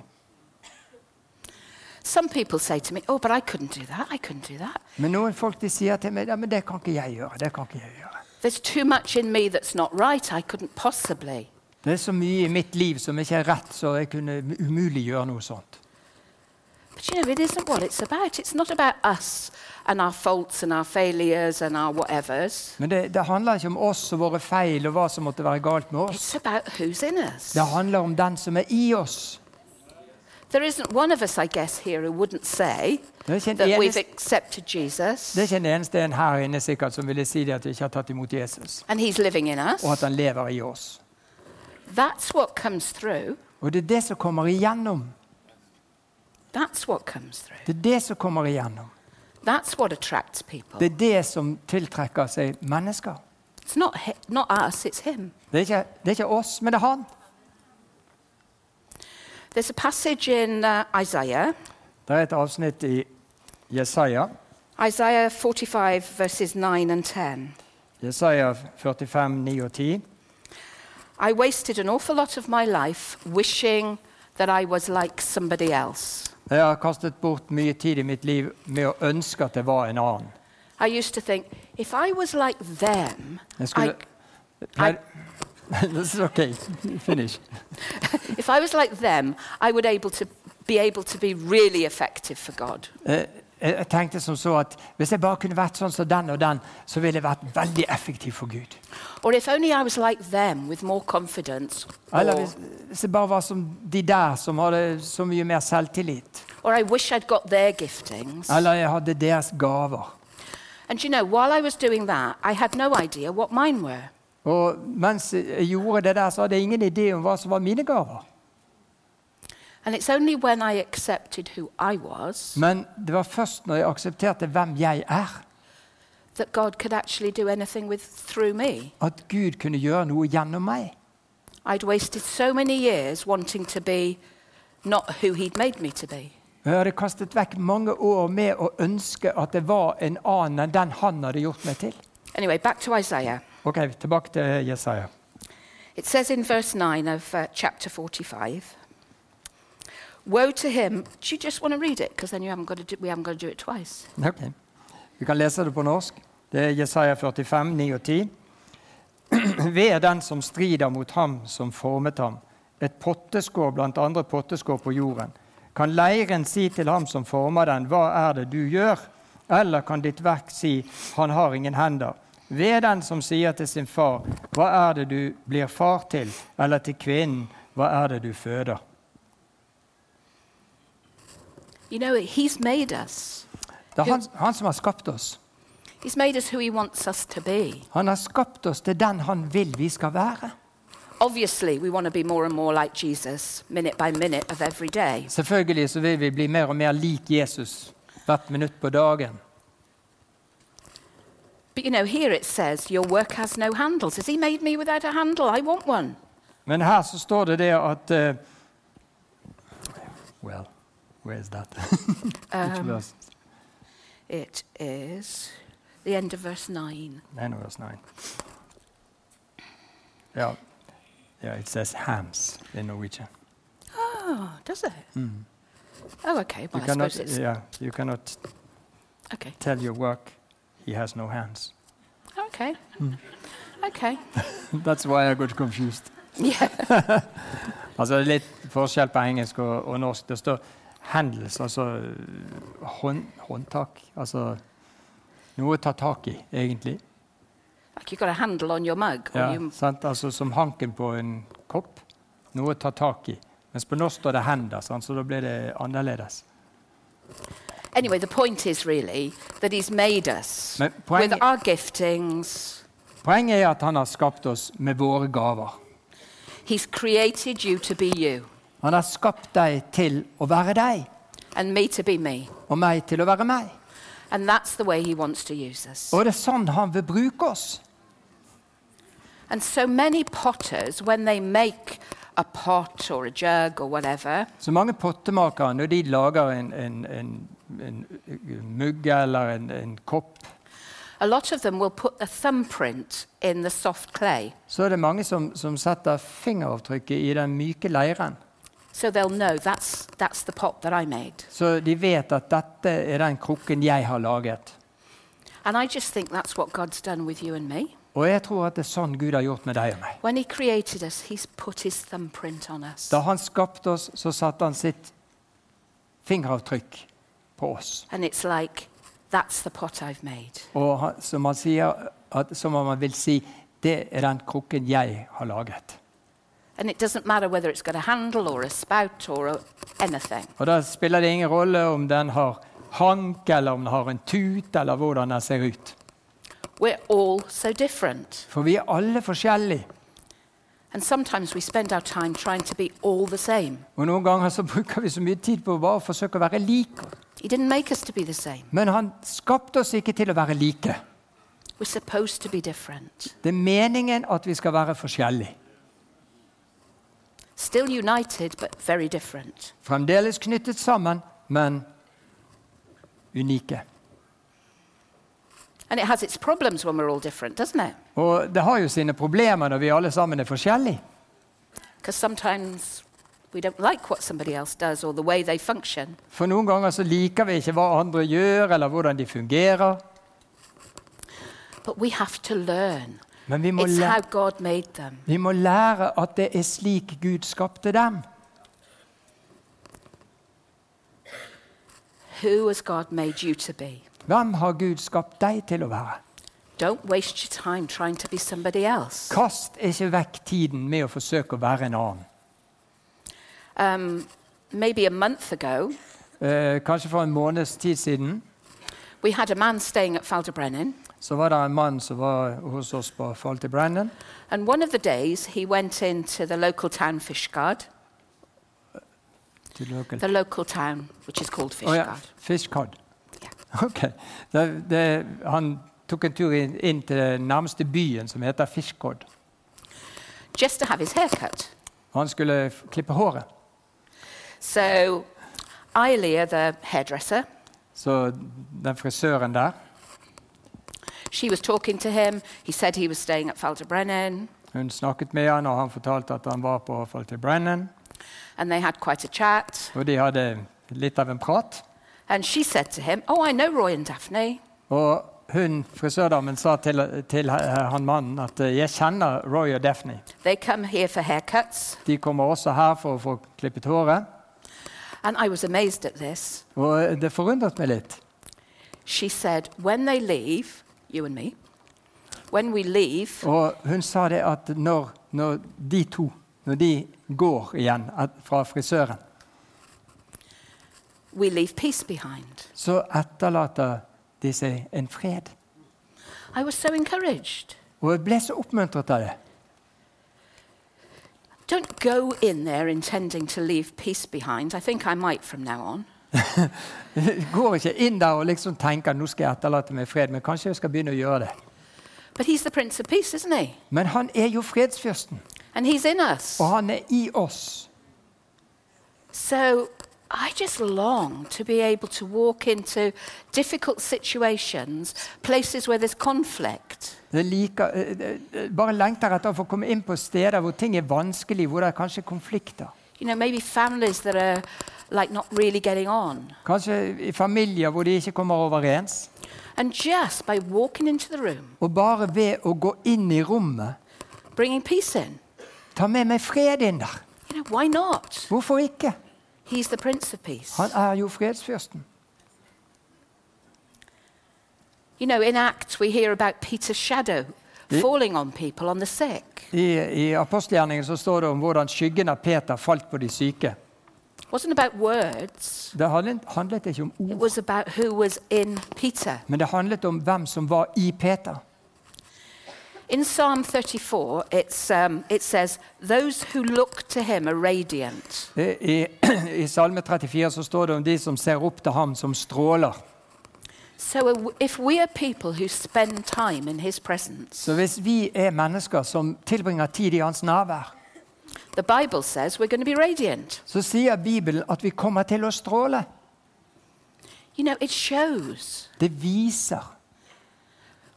Some people say to me, Oh, but I couldn't do that. I couldn't do that. Men noen folk de sier til meg ja, men det kan ikke jeg gjøre. det kan ikke jeg gjøre. There's too much in me that's not right. I couldn't possibly. Det er så mye i mitt liv som ikke er rett, så jeg kunne umulig gjøre noe sånt. But you know, it isn't what it's about. It's not about us and our faults and our failures and our whatevers. Men det, det handler ikke om oss og våre feil og hva som måtte være galt med oss. It's about who's in us. Det handler om den som er i oss. There isn't one of us, I guess, here who wouldn't say Det er ikke en that we've eneste, accepted Jesus det er ikke en, eneste en her inne sikkert som ville si det at vi ikke har tatt imot Jesus, and he's living in us. og at han lever i oss. That's what comes through. Og det er det som kommer igjennom. That's what comes through. Det er det som kommer igjennom. That's what attracts people. Det er det som tiltrekker seg mennesker. It's not, hi- not us, it's him. Det er ikke, det er ikke oss, men det er han. There's a passage in uh, Isaiah, Det er et avsnitt i Jesaja. Isaiah 45, verses 9 and 10. Jesaja 45, 9 og 10. I wasted an awful lot of my life wishing that I was like somebody else. Jeg har kastet bort mye tid i mitt liv med å ønske at det var en annen. I used to think, if I was like them, I, Jeg skulle... Nei, This is okay. Finish. if I was like them, I would able to be able to be really effective for God. Eh, Jeg jeg tenkte som så at hvis jeg bare kunne vært sånn som den og den, så ville jeg vært veldig effektiv for Gud. Or if only I was like them with more confidence. Eller Or, hvis, hvis jeg bare var som de der som hadde så mye mer selvtillit. or I wish I'd got their giftings. Eller jeg hadde deres gaver. And you know, while I was doing that, I had no idea what mine were. Og mens jeg gjorde det der, så hadde jeg ingen idé om hva som var mine gaver. And it's only when I accepted who I was Men det var først når jeg aksepterte hvem jeg er, that God could actually do anything with through me. at Gud kunne gjøre noe gjennom meg. I'd wasted so many years wanting to be not who he'd made me to be. Og Jeg hadde kastet vekk mange år med å ønske at det var en annen enn den han hadde gjort meg til. Anyway, back to Isaiah. Ok, tilbake til Jesaja. It says in verse 9 of uh, chapter 45 Woe to him. Do you just want to read it? Because then you haven't got to do, we haven't got to do it twice. Ok. Vi kan lese det på norsk. Det er Jesaja 45, 9 og 10. Ved den som strider mot ham som formet ham, et potteskår blant andre potteskår på jorden. Kan leiren si til ham som former den, hva er det du gjør? Eller kan ditt verk si, han har ingen hender? Ved den som sier til sin far, hva er det du blir far til? Eller til kvinnen, hva er det du føder? You know, he's made us. Det er han, han som har skapt oss. He's made us who he wants us to be. Han har skapt oss til den han vil vi skal være. Obviously, we want to be more and more like Jesus minute by minute of every day. Selvfølgelig så vil vi bli mer og mer lik Jesus hvert minutt på dagen. But you know, here it says, Your work has no handles. Has he made me without a handle? I want one. Men her så står det det at eh, Well, where is that? Um. Which verse? It is the end of verse 9. Nine verse nine. Ja, Ja, it says hams in Norwegian. Oh, does it? Oh, okay. Well, You I cannot, suppose it's. yeah, you cannot Okay. Oh, tell your work he has no hands. Okay. Okay. That's why I got confused. Yeah. Altså det er litt forskjell på engelsk og, og norsk. Det står 'handles', altså øh, hånd, håndtak. Altså noe å ta tak i, egentlig. Like you've got a handle on your mug. Or Ja, you, sant? Altså som hanken på en kopp. Noe å ta tak i. Mens på norsk står det 'hender', sant? så da blir det annerledes. anyway, the point is really that he's made us Men with poenget, our giftings. poenget er at han har skapt oss med våre gaver. He's created you to be you Han har skapt deg til å være deg, and me to be me. og meg til å være meg. And that's the way he wants to use us. Og det er sånn han vil bruke oss. And so many potters, when they make a pot or a jug or whatever, Så mange pottemakere, når de lager en, en, en, en mugge eller en, en kopp, a lot of them will put a thumbprint in the soft clay så er det mange som, som setter fingeravtrykket i den myke leiren. so they'll know that's, that's the pot that I made. Så de vet at dette er den krukken jeg har laget. And I just think that's what God's done with you and me. Og jeg tror at det er sånn Gud har gjort med deg og meg. When He created us, He's put His thumbprint on us. Da han skapte oss, så satte han sitt fingeravtrykk på oss. And it's like, that's the pot I've made. Og han- som han sier, at, som om han vil si det er den krukken jeg har laget. And it doesn't matter whether it's got a handle or a spout or a, anything. Og Da spiller det ingen rolle om den har hank, eller om den har en tut, eller hvordan den ser ut. We're all so different. For vi er alle forskjellige. And sometimes we spend our time trying to be all the same. Og Noen ganger så bruker vi så mye tid på å bare forsøke å være like. He didn't make us to be the same. Men han skapte oss ikke til å være like. We're supposed to be different. Det er meningen at vi skal være forskjellige. Still united, but very different. Fremdeles knyttet sammen, men unike. And it has its problems when we're all different, doesn't it? Og det har jo sine problemer når vi alle sammen er forskjellige. Because sometimes we don't like what somebody else does or the way they function. For noen ganger så liker vi ikke hva andre gjør, eller hvordan de fungerer. But we have to learn. Men vi må, It's læ how God made them. vi må lære at det er slik Gud skapte dem. Who has God made you to be? Hvem har Gud skapt deg til å være? Don't waste your time trying to be somebody else. Kast ikke vekk tiden med å forsøke å være en annen. Um, maybe a month ago, Eh, kanskje for en måneds tid siden we had a man staying at Faldebrennen, så var det en mann som var hos oss på Fall til Brennan. and one of the days he went into the local town Fishguard, Til dere. the local town which is called Å ja, Fishguard. Fishcod. Ja. Ok. Det, det, han tok en tur inn, inn til den nærmeste byen, som heter Fishcod. just to have his hair cut. Han skulle f- klippe håret. So Ilia, the hairdresser, Så den frisøren der she was talking to him. He said he was staying at Faldebrennen, Hun snakket med han, og han fortalte at han var på Fall til Brennan. and they had quite a chat. Og de hadde litt av en prat. And she said to him, Oh, I know Roy and Daphne. Og hun, frisørdamen sa til, til eh, han mannen at eh, 'jeg kjenner Roy og Daphne'. They come here for haircuts. De kommer også her for å få klippet håret. And I was amazed at this. Og eh, det forundret meg litt. She said, When they leave, you and me, when we leave, Og hun sa det at når, når de to når de går igjen at, fra frisøren, we leave peace behind. så etterlater de seg en fred. I was so encouraged. Og jeg ble så oppmuntret av det. Don't go in there intending to leave peace behind. I think I might from now on. Jeg går ikke inn der og liksom tenker nå skal jeg etterlate meg fred, men kanskje jeg skal begynne å gjøre det. But he's the Prince of Peace, isn't he? Men han er jo fredsfyrsten, And he's in us. og han er i oss. So I just long to be able to walk into difficult situations, places where there's conflict, Jeg liker, eh, eh, eh, bare lengter etter å få komme inn på steder hvor ting er vanskelig, hvor det er kanskje konflikter. you know, maybe families that are like not really getting on. Kanskje i familier hvor de ikke kommer overens. And just by walking into the room, Og bare ved å gå inn i rommet bringing peace in, Ta med meg fred inn der. you know, why not? Hvorfor ikke? He's the Prince of Peace. Han er jo fredsfyrsten. You know, in Acts, we hear about Peter's shadow Ye- falling on people, on the sick. I, i apostelgjerningen så står det om hvordan skyggen av Peter falt på de syke. It wasn't about words, Det handlet, handlet ikke om it ord, was about who was in Peter. men det handlet om hvem som var i Peter. In Psalm 34, it's, um, it says, Those who look to him are radiant. I, Eh, i, I Salme 34 så står det om de som ser opp til ham som stråler. So uh, w- if we are people who spend time in his presence, Så hvis vi er mennesker som tilbringer tid i hans nærvær, the Bible says we're going to be radiant. så sier Bibelen at vi kommer til å stråle. You know, it shows. Det viser.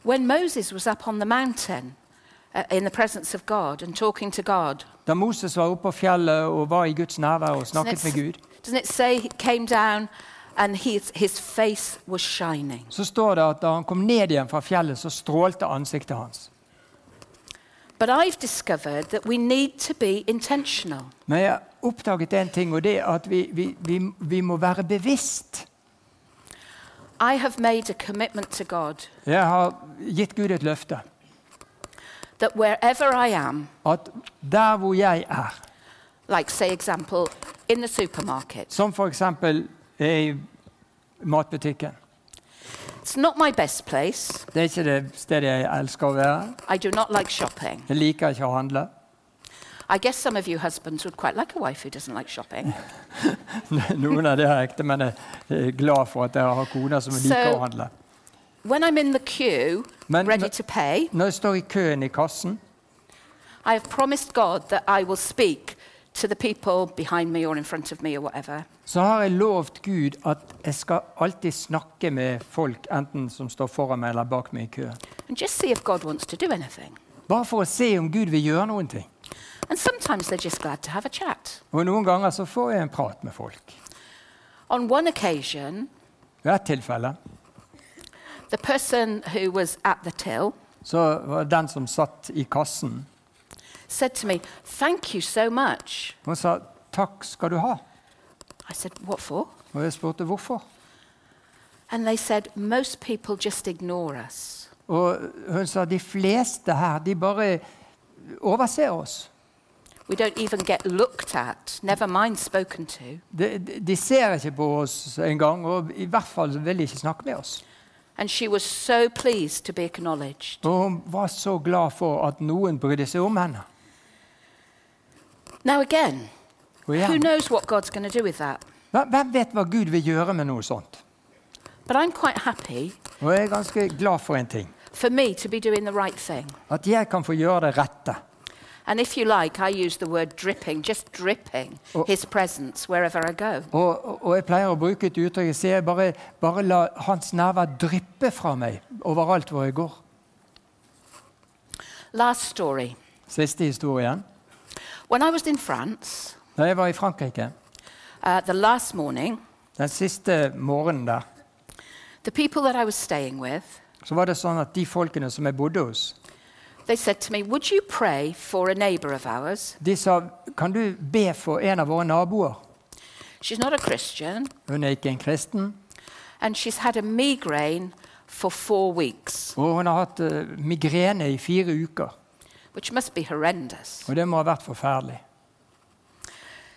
When Moses was up on the mountain uh, in the presence of God and talking to God, Da Moses var oppe på fjellet og var i Guds nærvær og doesn't snakket med it, Gud, s- doesn't it say he came down and his, his face was shining? så står det at da han kom ned igjen fra fjellet, så strålte ansiktet hans. But I've discovered that we need to be intentional. Men jeg har oppdaget en ting, og det er at vi, vi, vi, vi må være bevisst. I have made a commitment to God Jeg har gitt Gud et løfte. that wherever I am, At der hvor jeg er, like, say, example, in the supermarket, som f.eks. i matbutikken it's not my best place. Det er ikke det stedet jeg elsker å være. I do not like shopping. Jeg liker ikke å handle. I guess some of you husbands would quite like a wife who doesn't like shopping. Noen av de er ekte, men jeg er glad for at jeg har koner som liker So- å handle. When I'm in the queue, Men- ready to pay, Når jeg står i køen i kassen, I have promised God that I will speak to the people behind me or in front of me or whatever. så har jeg lovt Gud at jeg skal alltid snakke med folk, enten som står foran meg eller bak meg i køen. And just see if God wants to do anything. Bare for å se om Gud vil gjøre noen ting. And sometimes they're just glad to have a chat. Og noen ganger så får jeg en prat med folk. On one occasion, I ett tilfelle the person who was at the till så var den som satt i kassen, said to me, Thank you so much. hun sa 'takk skal du ha'. I said, What for? Og jeg spurte hvorfor. And they said, Most people just ignore us. Og hun sa 'de fleste her, de bare overser oss'. We don't even get looked at, never mind spoken to. De, de, de ser ikke på oss engang, og i hvert fall vil de ikke snakke med oss. And she was so pleased to be acknowledged. Og hun var så glad for at noen brydde seg om henne. Now, again, who Og igjen, knows what God's going to do with that? hvem hvem vet hva Gud vil gjøre med noe sånt? But I'm quite happy Og jeg er ganske glad for en ting. for me to be doing the right thing. At jeg kan få gjøre det rette. And if you like, I use the word dripping, just dripping his presence wherever I go. Og, og- og jeg pleier å bruke et uttrykk jeg sier bare, bare la hans nærvær dryppe fra meg overalt hvor jeg går. Last story. Siste historien. When I was in France, Da jeg var i Frankrike, uh, the last morning, den siste morgenen der, the people that I was staying with, så var det sånn at de folkene som jeg bodde hos, they said to me, Would you pray for a neighbour of ours? de sa kan du be for en av våre naboer? She's not a Christian, Hun er ikke en kristen, and she's had a migraine for four weeks, og hun har hatt eh, migrene i fire uker. which must be horrendous. Og det må ha vært forferdelig.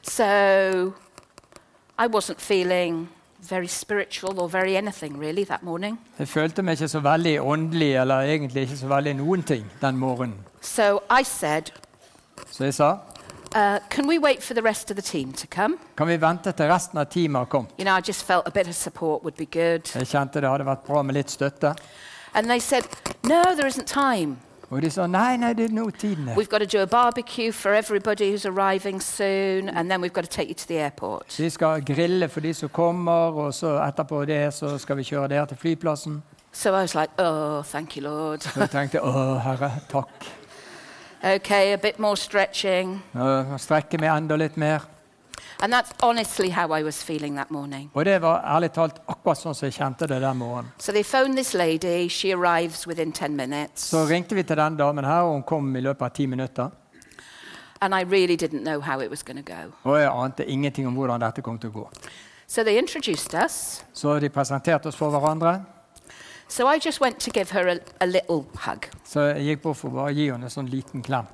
So I wasn't feeling very spiritual or very anything really that morning. Jeg følte meg ikke så veldig åndelig, eller egentlig ikke så veldig noen ting den morgenen. So I said, Så jeg sa uh, Can we wait for the rest of the team to come? kan vi vente til resten av teamet har kommet. You know, I just felt a bit of support would be good. Jeg kjente det hadde vært bra med litt støtte. And they said, No, there isn't time. Og de sa nei, nei, det er nå tiden er. We've got to do a barbecue for everybody who's arriving soon, and then we've got to take you to the airport. Vi skal grille for de som kommer, og så etterpå det så skal vi kjøre dere til flyplassen. So I was like, Oh, thank you, Lord. Så jeg tenkte å, herre, takk. okay, a bit more stretching. Øh, Strekke meg enda litt mer. And that's honestly how I was feeling that morning. Og det var ærlig talt akkurat sånn som jeg kjente det den morgenen. So they phoned this lady. She arrives within 10 minutes. Så ringte vi til den damen her, og hun kom i løpet av ti minutter. And I really didn't know how it was going to go. Og jeg ante ingenting om hvordan dette kom til å gå. So they introduced us. Så de presenterte oss for hverandre. So I just went to give her a, a little hug. Så jeg gikk bort for å bare gi henne en sånn liten klem.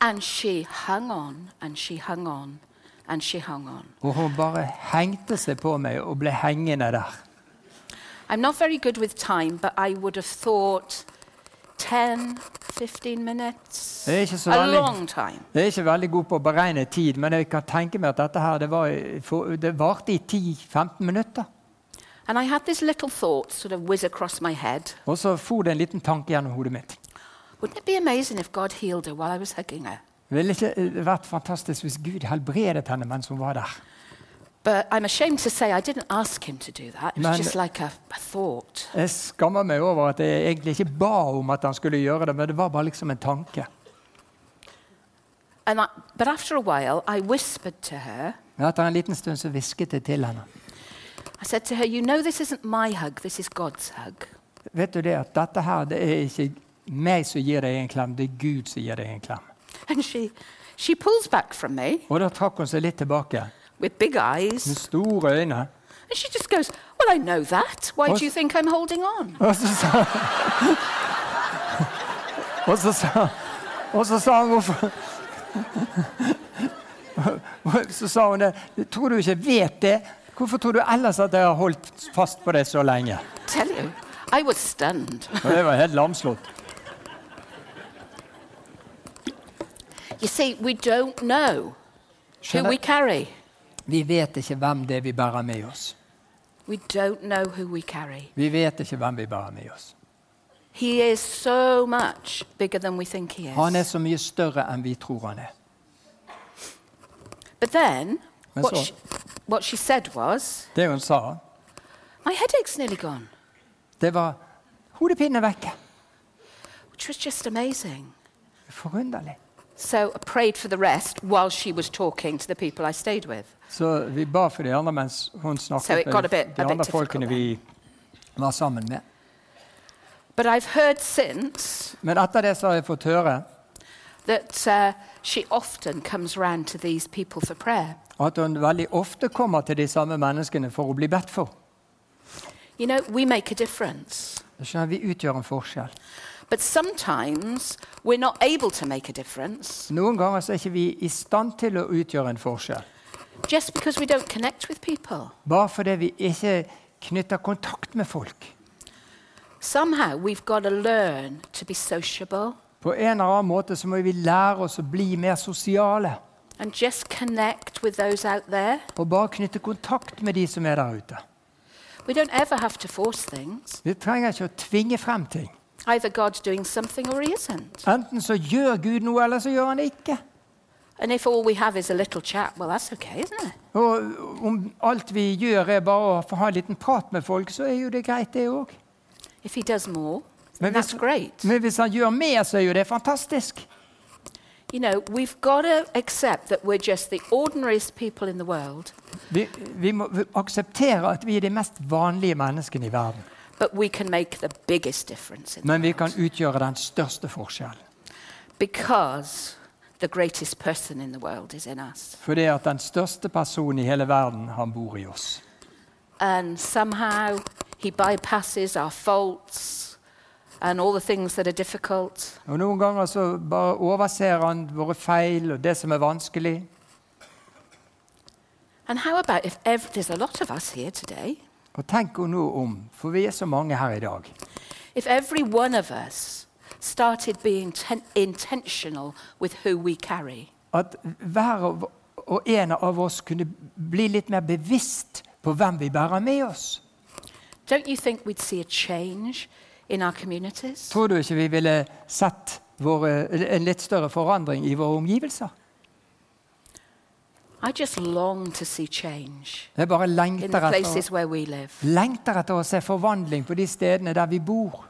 And she hung on and she hung on and she hung on. Og hun bare hengte seg på meg og ble hengende der. I'm not very good with time, but I would have thought 10, 15 minutes. Det er ikke så a veldig- long time. Jeg er ikke veldig god på å beregne tid, men jeg kan tenke meg at dette her, det, var, i- for, det varte i 10-15 minutter. And I had this little thought sort of whiz across my head. Og så for det en liten tanke gjennom hodet mitt. Wouldn't it be amazing if God healed her while I was hugging her? Ville ikke det vært fantastisk hvis Gud helbredet henne mens hun var der? But I'm ashamed to say I didn't ask him to do that. It was Man- just like a, a thought. Jeg skammer meg over at jeg egentlig ikke ba om at han skulle gjøre det, men det var bare liksom en tanke. And I, but after a while, I whispered to her, Men etter en liten stund så hvisket jeg til henne. I said to her, You know, this isn't my hug, this is God's hug. Vet du det, at dette her, det er ikke meg som gir deg en klem, det er Gud som gir deg en klem. And she, she pulls back from me Og da trakk hun seg litt tilbake, with big eyes. med store øyne. And she just goes, Well, I know that. Why What's- do you think I'm holding on? Og så sa Og så sa, og så sa hun hvorfor Så sa hun det. Tror du ikke jeg vet det? Hvorfor tror du ellers at jeg har holdt fast på det så lenge? tell you, I was stunned. Og det var helt lamslått. You see, we don't know who we Skjønner? carry. Vi vet ikke hvem det er vi bærer med oss. We don't know who we carry. Vi vet ikke hvem vi bærer med oss. He is so much bigger than we think he is. Han er så mye større enn vi tror han er. But then, That's what all. she, what she said was, Det hun sa, My headache's nearly gone, det var 'Hodepinen er vekke'. which was just amazing. Forunderlig. So I prayed for the rest while she was talking to the people I stayed with. Så vi ba for de andre mens hun snakket So it got a med bit- a bit de andre difficult folkene vi var sammen med. But I've heard since Men etter det så har jeg fått høre that uh, she often comes round to these people for prayer. at hun veldig ofte kommer til de samme menneskene for å bli bedt for. You know, we make a difference. Jeg skjønner Vi utgjør en forskjell. But sometimes we're not able to make a difference Noen ganger så er ikke vi i stand til å utgjøre en forskjell. just because we don't connect with people. Bare fordi vi ikke knytter kontakt med folk. Somehow we've got to learn to be sociable På en eller annen måte så må vi lære oss å bli mer sosiale. and just connect with those out there. Og bare knytte kontakt med de som er der ute. We don't ever have to force things. Vi trenger ikke å tvinge frem ting. Either God's doing something or He isn't. Enten så gjør Gud noe, eller så gjør han ikke. And if all we have is a little chat, well, that's okay, isn't it? Og om alt vi gjør er bare å få ha en liten prat med folk, så er jo det greit, det òg. If He does more, then Maybe that's it's- great. Men hvis han gjør mer, så er jo det fantastisk. You know, we've got to accept that we're just the ordinariest people in the world, Vi, vi må akseptere at vi er de mest vanlige menneskene i verden. but we can make the biggest difference in the Men vi world. kan utgjøre den største forskjellen. Because the greatest person in the world is in us. Fordi at den største personen i hele verden, han bor i oss. And somehow he bypasses our faults and all the things that are difficult. Og Noen ganger så bare overser han våre feil og det som er vanskelig. And how about if ev- there's a lot of us here today, Og tenk jo nå om, for vi er så mange her i dag. if every one of us started being ten- intentional with who we carry? at hver og- og en av oss kunne bli litt mer bevisst på hvem vi bærer med oss. Don't you think we'd see a change in our communities? Tror du ikke vi ville sett våre, en litt større forandring i våre omgivelser? I just long to see change Jeg bare in lengter the etter, places where we live. lengter etter å se forvandling på de stedene der vi bor.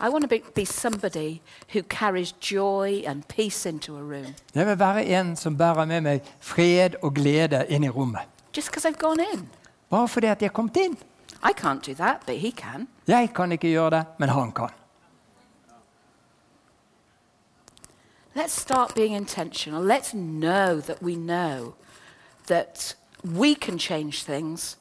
I want to be, be somebody who carries joy and peace into a room Jeg vil være en som bærer med meg fred og glede inn i rommet. just because I've gone in. Bare fordi at jeg er kommet inn. I can't do that, but he can. Jeg kan ikke gjøre det, men han kan. Let's start being intentional. Let's know that we know that we can change things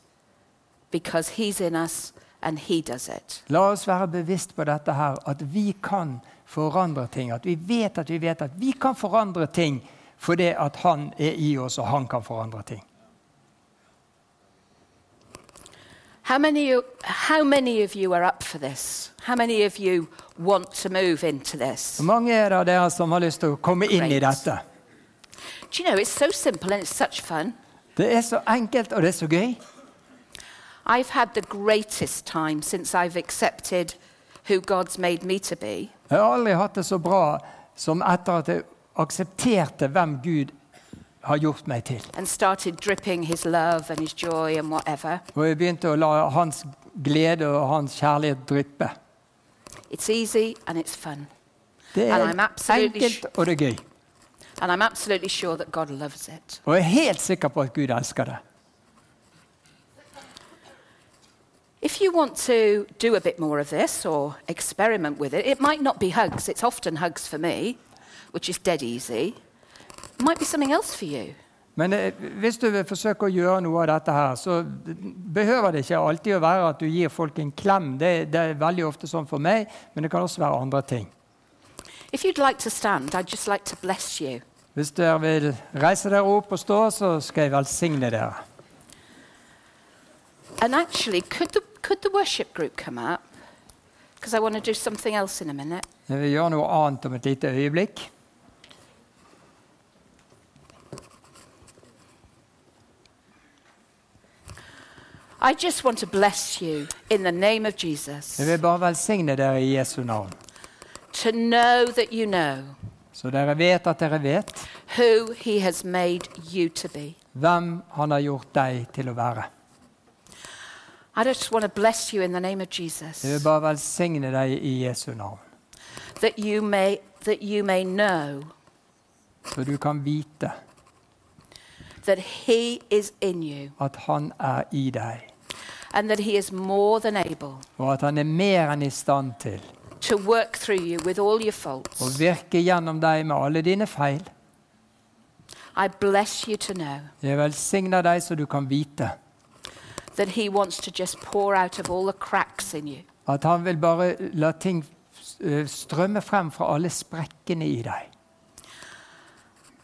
because he's in us and he does it. La oss være bevisst på dette her, at vi kan forandre ting. At vi vet at vi vet at vi kan forandre ting fordi at han er i oss, og han kan forandre ting. How many, you- how many of you are up for this? How many of you want to move into this? Hvor mange er det av dere som har lyst til å komme inn i Great. dette? Do you know, it's so simple and it's such fun. Det er så enkelt, og det er så gøy. I've had the greatest time since I've accepted who God's made me to be. Jeg har aldri hatt det så bra som etter at jeg aksepterte hvem Gud har gjort meg til. and started dripping his love and his joy and whatever. Og jeg begynte å la hans glede og hans kjærlighet dryppe. It's easy and it's fun. Det er And I'm absolutely enkelt, og det er gøy. And I'm absolutely sure that God loves it. Og jeg er helt sikker på at Gud elsker det. If you want to do a bit more of this or experiment with it, it might not be hugs. It's often hugs for me, which is dead easy. It might be something else for you. Men eh, hvis du vil forsøke å gjøre noe av dette her, så behøver det ikke alltid å være at du gir folk en klem. Det, det er veldig ofte sånn for meg, men det kan også være andre ting. If you'd like to stand, I'd just like to bless you. Hvis dere vil reise dere opp og stå, så skal jeg velsigne dere. And actually, could the, could the worship group come up? Because I want to do something else in a minute. Jeg vil gjøre noe annet om et lite øyeblikk. I just want to bless you in the name of Jesus Jeg vil bare velsigne dere i Jesu navn. to know that you know Så dere vet at dere vet who He has made you to be. hvem han har gjort deg til å være. I just want to bless you in the name of Jesus Jeg vil bare velsigne deg i Jesu navn, that you may that you may know så du kan vite that He is in you at han er i deg, and that He is more than able og at han er mer enn i stand til to work through you with all your å faults. virke gjennom deg med alle dine feil. I bless you to know Jeg velsigner deg så du kan vite that He wants to just pour out of all the cracks in you. at han vil bare la ting eh, strømme frem fra alle sprekkene i deg.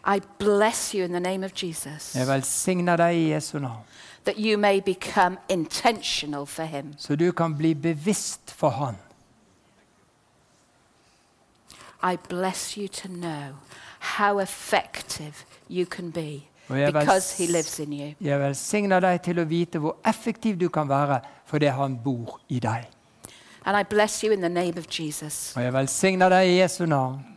I bless you in the name of Jesus Jeg velsigner deg i Jesu navn, that you may become intentional for Him. så du kan bli bevisst for han. I bless you to know how effective you can be Og jeg because He vels- lives in you. Jeg velsigner deg til å vite hvor effektiv du kan være fordi han bor i deg. And I bless you in the name of Jesus Og jeg velsigner deg i Jesu navn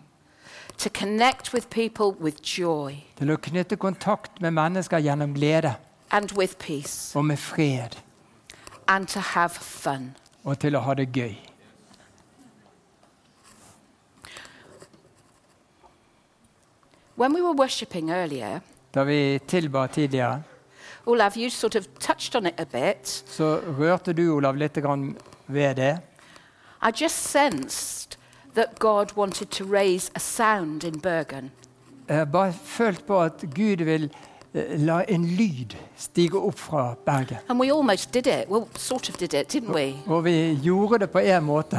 to connect with people with joy til å knytte kontakt med mennesker gjennom glede and with peace og med fred, and to have fun. og til å ha det gøy. When we were worshipping earlier, Da vi tilba tidligere, Olav, you sort of touched on it a bit. så rørte du, Olav, litt grann ved det. I just sensed that God wanted to raise a sound in Bergen. Jeg har Eh, bare følt på at Gud vil eh, la en lyd stige opp fra berget. And we almost did it. Well, sort of did it, didn't we? Og vi gjorde det på én måte.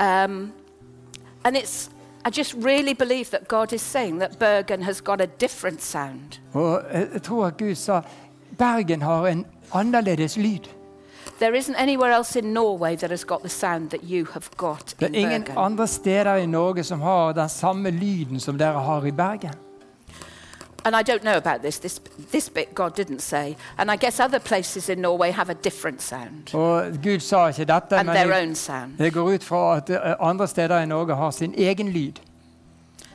Um, and it's, I just really believe that God is saying that Bergen has got a different sound. Og eh, jeg jeg tror at Gud sa Bergen har en annerledes lyd. There isn't anywhere else in Norway that has got the sound that you have got Det in er ingen Bergen. andre steder i Norge som har den samme lyden som dere har i Bergen. and I don't know about this. this. This bit God didn't say. And I guess other places in Norway have a different sound Og Gud sa ikke dette, and men their jeg, own sound. jeg går ut fra at eh, andre steder i Norge har sin egen lyd.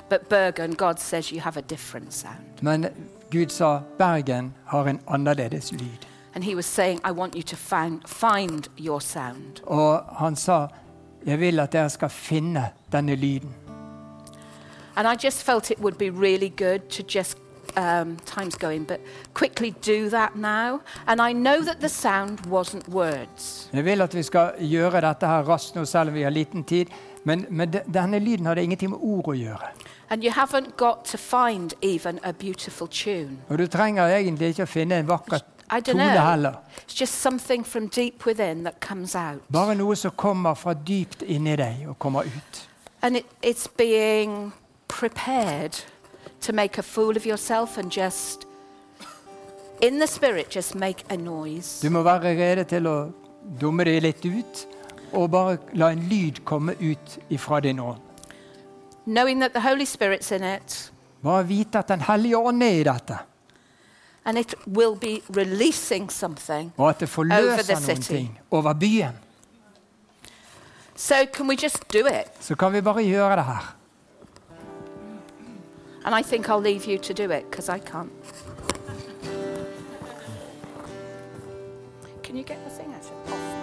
But Bergen, God says you have a different sound. Men Gud sa Bergen har en annerledes lyd. And He was saying, I want you to find, find your sound. Og han sa jeg vil at dere skal finne denne lyden. And I just felt it would be really good to just, um, time's going, but quickly do that now. And I know that the sound wasn't words, Jeg vil at vi skal gjøre dette her raskt nå, selv om vi har liten tid. Men, men de- denne lyden hadde ingenting med ord å gjøre. and you haven't got to find even a beautiful tune. Og du trenger egentlig ikke å finne en vakker I don't tone know. heller. It's just something from deep within that comes out. Bare noe som kommer fra dypt inni deg og kommer ut. And it, it's being prepared to make a fool of yourself and just, in the spirit, just make a noise. Du må være rede til å dumme deg litt ut, og bare la en lyd komme ut ifra din ånd. Knowing that the Holy Spirit's in it, Bare vite at Den hellige ånd er i dette, and it will be releasing something. og at det Over the forløser noen city. ting over byen. So, can we just do it? Så kan vi bare gjøre det her. And I think I'll leave you to do it because I can't. Can you get the thing out? of- off?